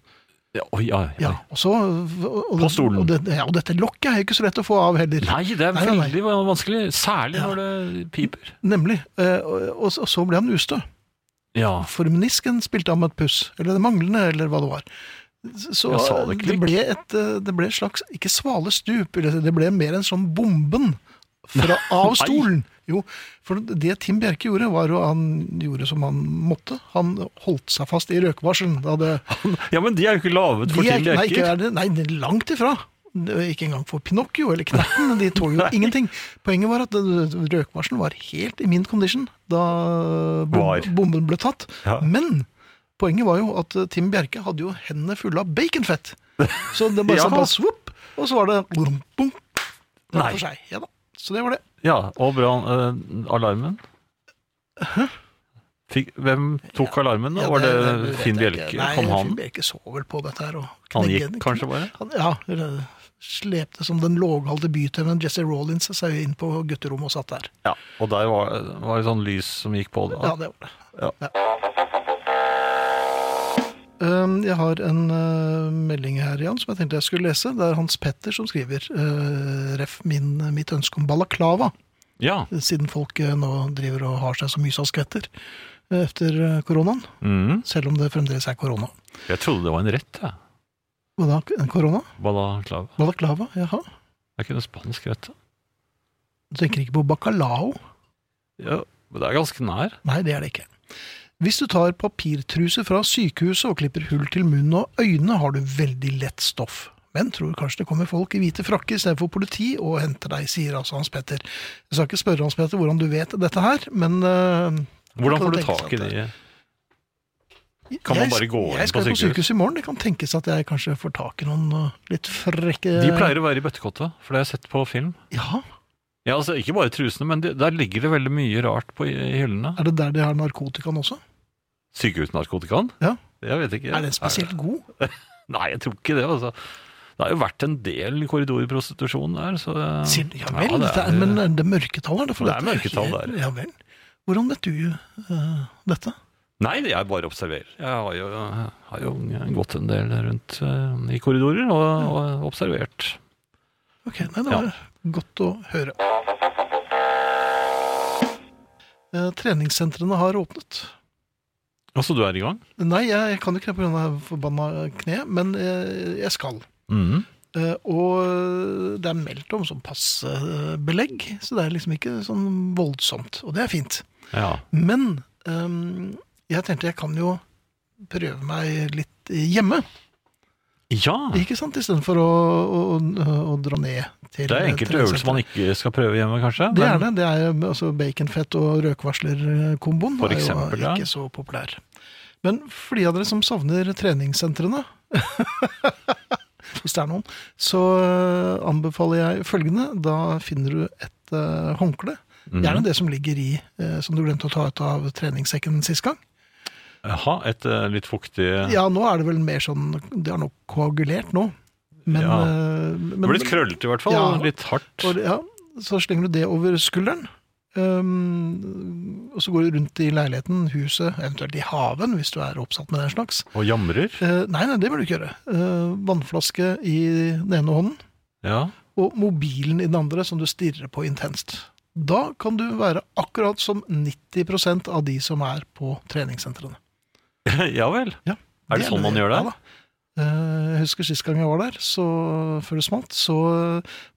[SPEAKER 3] Ja, Oi, ja, ja.
[SPEAKER 2] Ja, og så... Og,
[SPEAKER 3] På stolen.
[SPEAKER 2] Og, det, ja, og dette lokket er jo ikke så lett å få av heller.
[SPEAKER 3] Nei, det er
[SPEAKER 2] Nei, nei, nei.
[SPEAKER 3] veldig vanskelig. Særlig når det piper.
[SPEAKER 2] Nemlig. Eh, Og, og, så- og så ble han ustø.
[SPEAKER 3] Ja.
[SPEAKER 2] For menisken spilte ham et puss, eller det manglende, eller hva det var. Så
[SPEAKER 3] Ja, sa
[SPEAKER 2] det,
[SPEAKER 3] det klikk?
[SPEAKER 2] ble et, eh, det ble et slags, ikke svalestup, vil jeg si, det ble mer en sånn bomben fra, av
[SPEAKER 3] Nei.
[SPEAKER 2] stolen. Jo, for det Tim Bjerke gjorde, var jo han gjorde som han måtte. Han holdt seg fast i røkvarselen. Da det,
[SPEAKER 3] ja, men de er jo ikke laget for
[SPEAKER 2] de er,
[SPEAKER 3] Tim
[SPEAKER 2] nei, ikke
[SPEAKER 3] Bjerker.
[SPEAKER 2] er det, nei, det er langt ifra. Det er Ikke engang for Pinocchio eller Knerten. De tåler jo
[SPEAKER 3] Nei.
[SPEAKER 2] ingenting. Poenget var at eh, røkvarselen var helt i min condition da bom-
[SPEAKER 3] Var.
[SPEAKER 2] bomben ble tatt.
[SPEAKER 3] Ja.
[SPEAKER 2] Men poenget var jo at eh, Tim Bjerke hadde jo hendene fulle av baconfett. Så det bare,
[SPEAKER 3] Ja.
[SPEAKER 2] så bare svopp, og så var det blum, blum, det var
[SPEAKER 3] Nei.
[SPEAKER 2] for seg. Ja da. Så det var det.
[SPEAKER 3] Ja, og brann... eh, alarmen? Fikk, hvem tok alarmen? da?
[SPEAKER 2] Ja,
[SPEAKER 3] Var det,
[SPEAKER 2] vet
[SPEAKER 3] Finn
[SPEAKER 2] jeg ikke.
[SPEAKER 3] Bjelke?
[SPEAKER 2] Nei,
[SPEAKER 3] Kom han?
[SPEAKER 2] Finn Bjelke så vel på dette her. Og
[SPEAKER 3] Han
[SPEAKER 2] knegge-
[SPEAKER 3] gikk kanskje bare?
[SPEAKER 2] Han, ja, eller slepte som den låghalde bytøven Jesse Rollins seg inn på gutterommet og satt der.
[SPEAKER 3] Ja, og der var, var det sånn lys som gikk på.
[SPEAKER 2] Ja,
[SPEAKER 3] Da.
[SPEAKER 2] det var det.
[SPEAKER 3] Ja.
[SPEAKER 2] Um, Jeg har en uh, melding her, Jan, som jeg tenkte jeg skulle lese. Det er Hans Petter som skriver uh, ref min, mitt ønske om balaklava,
[SPEAKER 3] Ja.
[SPEAKER 2] siden folk uh, nå driver og har seg så mye som skvetter uh, etter uh, koronaen.
[SPEAKER 3] Mm.
[SPEAKER 2] Selv om det fremdeles er korona.
[SPEAKER 3] Jeg trodde det var en rett, jeg.
[SPEAKER 2] Hva da? Korona?
[SPEAKER 3] Balaklava.
[SPEAKER 2] Balaklava? Jaha.
[SPEAKER 3] Det er ikke noe spansk rett. da.
[SPEAKER 2] Du tenker ikke på bacalao?
[SPEAKER 3] Ja, men det er ganske nær.
[SPEAKER 2] Nei, det er det ikke. Hvis du tar papirtruse fra sykehuset og klipper hull til munn og øyne, har du veldig lett stoff. Men tror kanskje det kommer folk i hvite frakker istedenfor politi og henter deg, sier altså Hans Petter. Jeg skal ikke spørre Hans Petter hvordan du vet dette her, men øh,
[SPEAKER 3] Hvordan
[SPEAKER 2] Kan
[SPEAKER 3] får du
[SPEAKER 2] tenke
[SPEAKER 3] tak i
[SPEAKER 2] seg at
[SPEAKER 3] de Kan man bare gå inn
[SPEAKER 2] jeg
[SPEAKER 3] på
[SPEAKER 2] skal jo på
[SPEAKER 3] sykehus?
[SPEAKER 2] sykehus i morgen. Det kan tenkes at jeg kanskje får tak i noen øh, litt frekke
[SPEAKER 3] De pleier å være i bøttekottet, for det har jeg sett på film.
[SPEAKER 2] Ja,
[SPEAKER 3] Ja, altså Ikke bare trusene, men de, der ligger det veldig mye rart på i- i hyllene.
[SPEAKER 2] Er det der de har narkotikaen også?
[SPEAKER 3] Sykehusnarkotikaen?
[SPEAKER 2] Ja.
[SPEAKER 3] Jeg vet ikke.
[SPEAKER 2] Er den spesielt god?
[SPEAKER 3] Nei, jeg tror ikke det. altså. Det har jo vært en del korridorprostitusjon der, så det-
[SPEAKER 2] Sier, ja vel,
[SPEAKER 3] det
[SPEAKER 2] dette er, men det er mørketall her. for
[SPEAKER 3] Det er
[SPEAKER 2] dette
[SPEAKER 3] mørketall
[SPEAKER 2] helt-
[SPEAKER 3] der.
[SPEAKER 2] Ja vel. Hvordan vet du øh, dette?
[SPEAKER 3] Nei, det jeg bare observerer. Jeg har jo, har jo gått en del rundt eh, i korridorer og, og observert.
[SPEAKER 2] Ok, nei, det var godt å høre. Eh, treningssentrene har åpnet.
[SPEAKER 3] Altså, du er i gang?
[SPEAKER 2] Nei, jeg, jeg kan jo ikke det pga. forbanna kne, men eh, jeg skal.
[SPEAKER 3] Mhm.
[SPEAKER 2] Eh, og det er meldt om sånn passe eh, belegg, så det er liksom ikke sånn voldsomt. Og det er fint.
[SPEAKER 3] Ja.
[SPEAKER 2] Men ehm, jeg tenkte jeg kan jo prøve meg litt hjemme,
[SPEAKER 3] ja.
[SPEAKER 2] ikke sant? Istedenfor å, å, å, å dra ned til
[SPEAKER 3] Det er enkelte øvelser man ikke skal prøve hjemme, kanskje.
[SPEAKER 2] Det er
[SPEAKER 3] men-
[SPEAKER 2] det. det er, jo- altså Baconfett og røkvarslerkomboen
[SPEAKER 3] For
[SPEAKER 2] er
[SPEAKER 3] eksempel,
[SPEAKER 2] jo
[SPEAKER 3] ja.
[SPEAKER 2] ikke så populær. Men for de av dere som savner treningssentrene, hvis det er noen, så eh, anbefaler jeg følgende. Da finner du et eh, håndkle.
[SPEAKER 3] Mhm.
[SPEAKER 2] Gjerne det som ligger i, eh, som du glemte å ta ut av treningssekken sist gang.
[SPEAKER 3] Jaha, et eh, litt fuktig
[SPEAKER 2] Ja, nå er det vel mer sånn Det har nok koagulert nå. Men,
[SPEAKER 3] Ja.
[SPEAKER 2] eh, men
[SPEAKER 3] Det blir litt krøllete i hvert fall,
[SPEAKER 2] Ja.
[SPEAKER 3] og litt hardt.
[SPEAKER 2] Og, ja, så slenger du det over skulderen. ehm, og så går du rundt i leiligheten, huset, eventuelt i haven hvis du er oppsatt med den slags.
[SPEAKER 3] Og jamrer.
[SPEAKER 2] Eh, nei, nei, det bør du ikke gjøre. Eh, vannflaske i den ene hånden
[SPEAKER 3] Ja.
[SPEAKER 2] og mobilen i den andre som du stirrer på intenst. Da kan du være akkurat som 90 av de som er på treningssentrene.
[SPEAKER 3] ja vel.
[SPEAKER 2] Ja,
[SPEAKER 3] Er det sånn man gjør det?
[SPEAKER 2] Ja da. Eh, Jeg husker sist gang jeg var der, så, før det smalt, så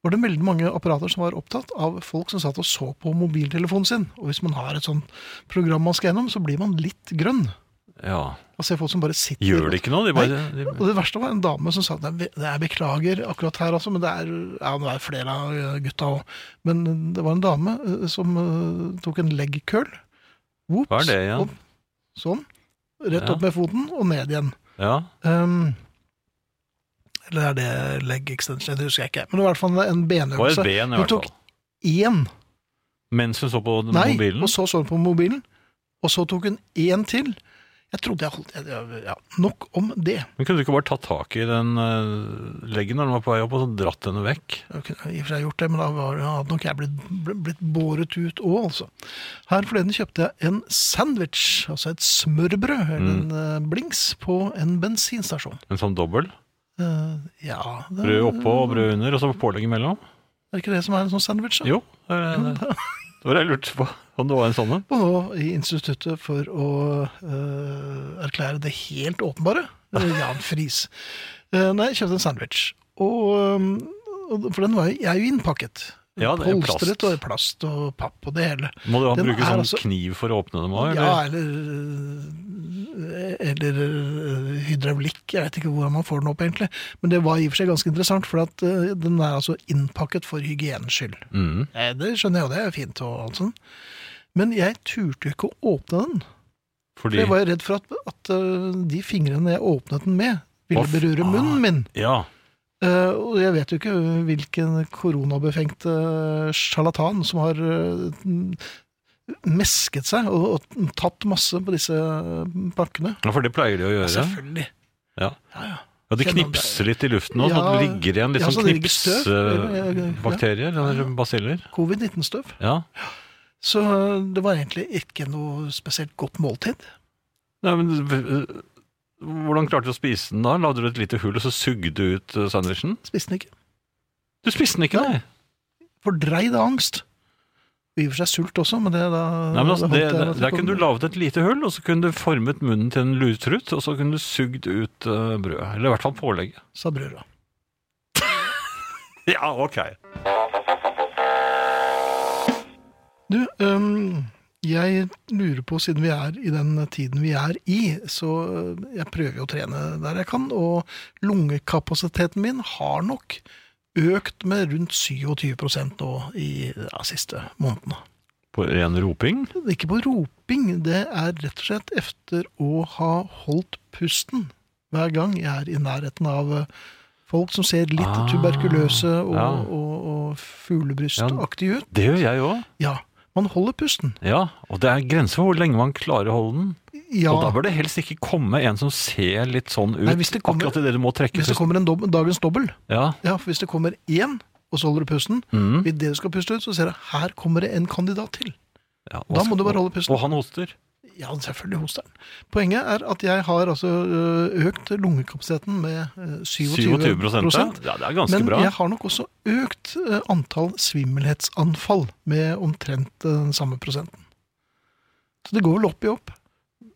[SPEAKER 2] var det veldig mange apparater som var opptatt av folk som satt og så på mobiltelefonen sin. Og hvis man har et sånt program man skal gjennom, så blir man litt grønn.
[SPEAKER 3] Ja.
[SPEAKER 2] Altså, folk som bare sitter
[SPEAKER 3] Gjør det ikke noe? De bare,
[SPEAKER 2] og
[SPEAKER 3] de,
[SPEAKER 2] det verste var en dame som sa at det er beklager akkurat her altså, men det er, ja, nå er det flere av eh, gutta òg. Men det var en dame eh, som eh, tok en leg curl. Whoops,
[SPEAKER 3] hva er det igjen?
[SPEAKER 2] Opp, sånn. Rett
[SPEAKER 3] Ja.
[SPEAKER 2] opp med foten og ned igjen.
[SPEAKER 3] Ja.
[SPEAKER 2] Ehm, eller er det leg extension? Det husker jeg ikke. Men det var i hvert fall en
[SPEAKER 3] Det var et
[SPEAKER 2] benøvelse.
[SPEAKER 3] ben, i
[SPEAKER 2] Hun
[SPEAKER 3] hvert
[SPEAKER 2] tok
[SPEAKER 3] fall.
[SPEAKER 2] én.
[SPEAKER 3] Mens hun så på den
[SPEAKER 2] Nei,
[SPEAKER 3] mobilen.
[SPEAKER 2] og så så hun på mobilen. Og så tok hun én til. Jeg trodde jeg holdt jeg- ja, Nok om det.
[SPEAKER 3] Men kunne du ikke bare tatt tak i den eh, leggen når den var på vei opp, og så dratt henne vekk?
[SPEAKER 2] Jeg kunne i og for seg gjort det, men da var, ja, hadde nok jeg blitt, blitt båret ut òg, altså. Her forleden kjøpte jeg en sandwich, altså et smørbrød, eller en
[SPEAKER 3] Mm.
[SPEAKER 2] eh, blings, på en bensinstasjon.
[SPEAKER 3] En sånn dobbel?
[SPEAKER 2] Eh, ja det,
[SPEAKER 3] Brød oppå og brød under, og så pålegg imellom?
[SPEAKER 2] Er ikke det som er en sånn sandwich? Da?
[SPEAKER 3] Jo. eh, Det var det jeg lurte på, om det var en sånn en.
[SPEAKER 2] Og nå i Instituttet for å eh, erklære det helt åpenbare, eh, Jan Friis. Eh, nei, jeg kjøpte en sandwich. Og, eh, og, for den var jo, jeg er jo innpakket.
[SPEAKER 3] Ja, det er plast.
[SPEAKER 2] Polstret og i plast og papp og det hele.
[SPEAKER 3] Må du ha-
[SPEAKER 2] Den
[SPEAKER 3] bruke
[SPEAKER 2] er
[SPEAKER 3] sånn
[SPEAKER 2] altså-
[SPEAKER 3] kniv for å åpne dem òg?
[SPEAKER 2] Ja, eller, eller eh, hydraulikk. Jeg vet ikke hvordan man får den opp, egentlig. Men det var i og for seg ganske interessant, for at eh, den er altså innpakket for hygienens skyld.
[SPEAKER 3] Mm.
[SPEAKER 2] Eh, Det skjønner jeg, og det er fint og alt sånn. Men jeg turte jo ikke å åpne den. For
[SPEAKER 3] Fordi
[SPEAKER 2] jeg var jo redd for at, at eh, de fingrene jeg åpnet den med, ville
[SPEAKER 3] Hva
[SPEAKER 2] berøre
[SPEAKER 3] faen?
[SPEAKER 2] munnen min.
[SPEAKER 3] Ja.
[SPEAKER 2] Eh, og jeg vet jo ikke hvilken koronabefengte sjarlatan som har eh, m- mesket seg og, og tatt masse på disse eh, pakkene.
[SPEAKER 3] ja, for det pleier de å
[SPEAKER 2] Ja,
[SPEAKER 3] gjøre.
[SPEAKER 2] selvfølgelig.
[SPEAKER 3] Ja.
[SPEAKER 2] Ja, ja.
[SPEAKER 3] Ja, De
[SPEAKER 2] Kjenner om
[SPEAKER 3] knipser litt i luften nå, så
[SPEAKER 2] Ja,
[SPEAKER 3] det ligger igjen litt
[SPEAKER 2] ja, så
[SPEAKER 3] sånn
[SPEAKER 2] det ligger støv. Ja, ja, ja.
[SPEAKER 3] knipsbakterier, eller basiller.
[SPEAKER 2] Covid-19-støv.
[SPEAKER 3] Ja.
[SPEAKER 2] Så eh, det var egentlig ikke noe spesielt godt måltid.
[SPEAKER 3] Nei, men øh, Hvordan klarte du å spise den da? Lagde du et lite hull, og så sugde du ut øh, sandwichen?
[SPEAKER 2] Spiste den ikke.
[SPEAKER 3] Du spiste den ikke, nei!
[SPEAKER 2] Fordreid av angst. Og i og for seg sult også, men det da
[SPEAKER 3] nei men
[SPEAKER 2] da
[SPEAKER 3] altså, det,
[SPEAKER 2] håndter jeg at
[SPEAKER 3] der
[SPEAKER 2] kom-
[SPEAKER 3] kunne du laget et lite hull, og så kunne du formet munnen til en lutrut, og så kunne du sugd ut øh, brødet. Eller i hvert fall pålegget.
[SPEAKER 2] Sa brødra.
[SPEAKER 3] Ja, ok.
[SPEAKER 2] Du, øhm, jeg lurer på, siden vi er i den tiden vi er i, så øh, jeg prøver jo å trene der jeg kan, og lungekapasiteten min har nok økt med rundt 27 nå i ja, siste månedene.
[SPEAKER 3] På ren roping?
[SPEAKER 2] Ikke på roping, det er rett og slett efter å ha holdt pusten hver gang jeg er i nærheten av øh, folk som ser litt
[SPEAKER 3] Ah,
[SPEAKER 2] tuberkuløse og,
[SPEAKER 3] ja.
[SPEAKER 2] og, og fuglebrystaktig ut.
[SPEAKER 3] Det gjør jeg òg.
[SPEAKER 2] Ja, man holder pusten.
[SPEAKER 3] Ja, og det er grenser for hvor lenge man klarer å holde den.
[SPEAKER 2] Ja.
[SPEAKER 3] Og da bør det helst ikke komme en som ser litt sånn ut.
[SPEAKER 2] Nei, hvis det kommer-
[SPEAKER 3] akkurat i det du må trekke
[SPEAKER 2] Hvis det
[SPEAKER 3] pusten.
[SPEAKER 2] kommer en dob dagens dobbel,
[SPEAKER 3] Ja.
[SPEAKER 2] ja, for hvis det kommer én, og så holder du pusten,
[SPEAKER 3] Mm.
[SPEAKER 2] i det du skal puste ut, så ser du her kommer det en kandidat til.
[SPEAKER 3] ja.
[SPEAKER 2] Da må
[SPEAKER 3] og-
[SPEAKER 2] du bare holde pusten.
[SPEAKER 3] Og han hoster.
[SPEAKER 2] Ja, selvfølgelig hoster den. Poenget er at jeg har altså ø, økt lungekapasiteten med ø, 27,
[SPEAKER 3] 27 prosent. Ja, det er ganske
[SPEAKER 2] Men
[SPEAKER 3] bra.
[SPEAKER 2] jeg har nok også økt ø, antall svimmelhetsanfall med omtrent ø, den samme prosenten. Så det går vel opp i opp.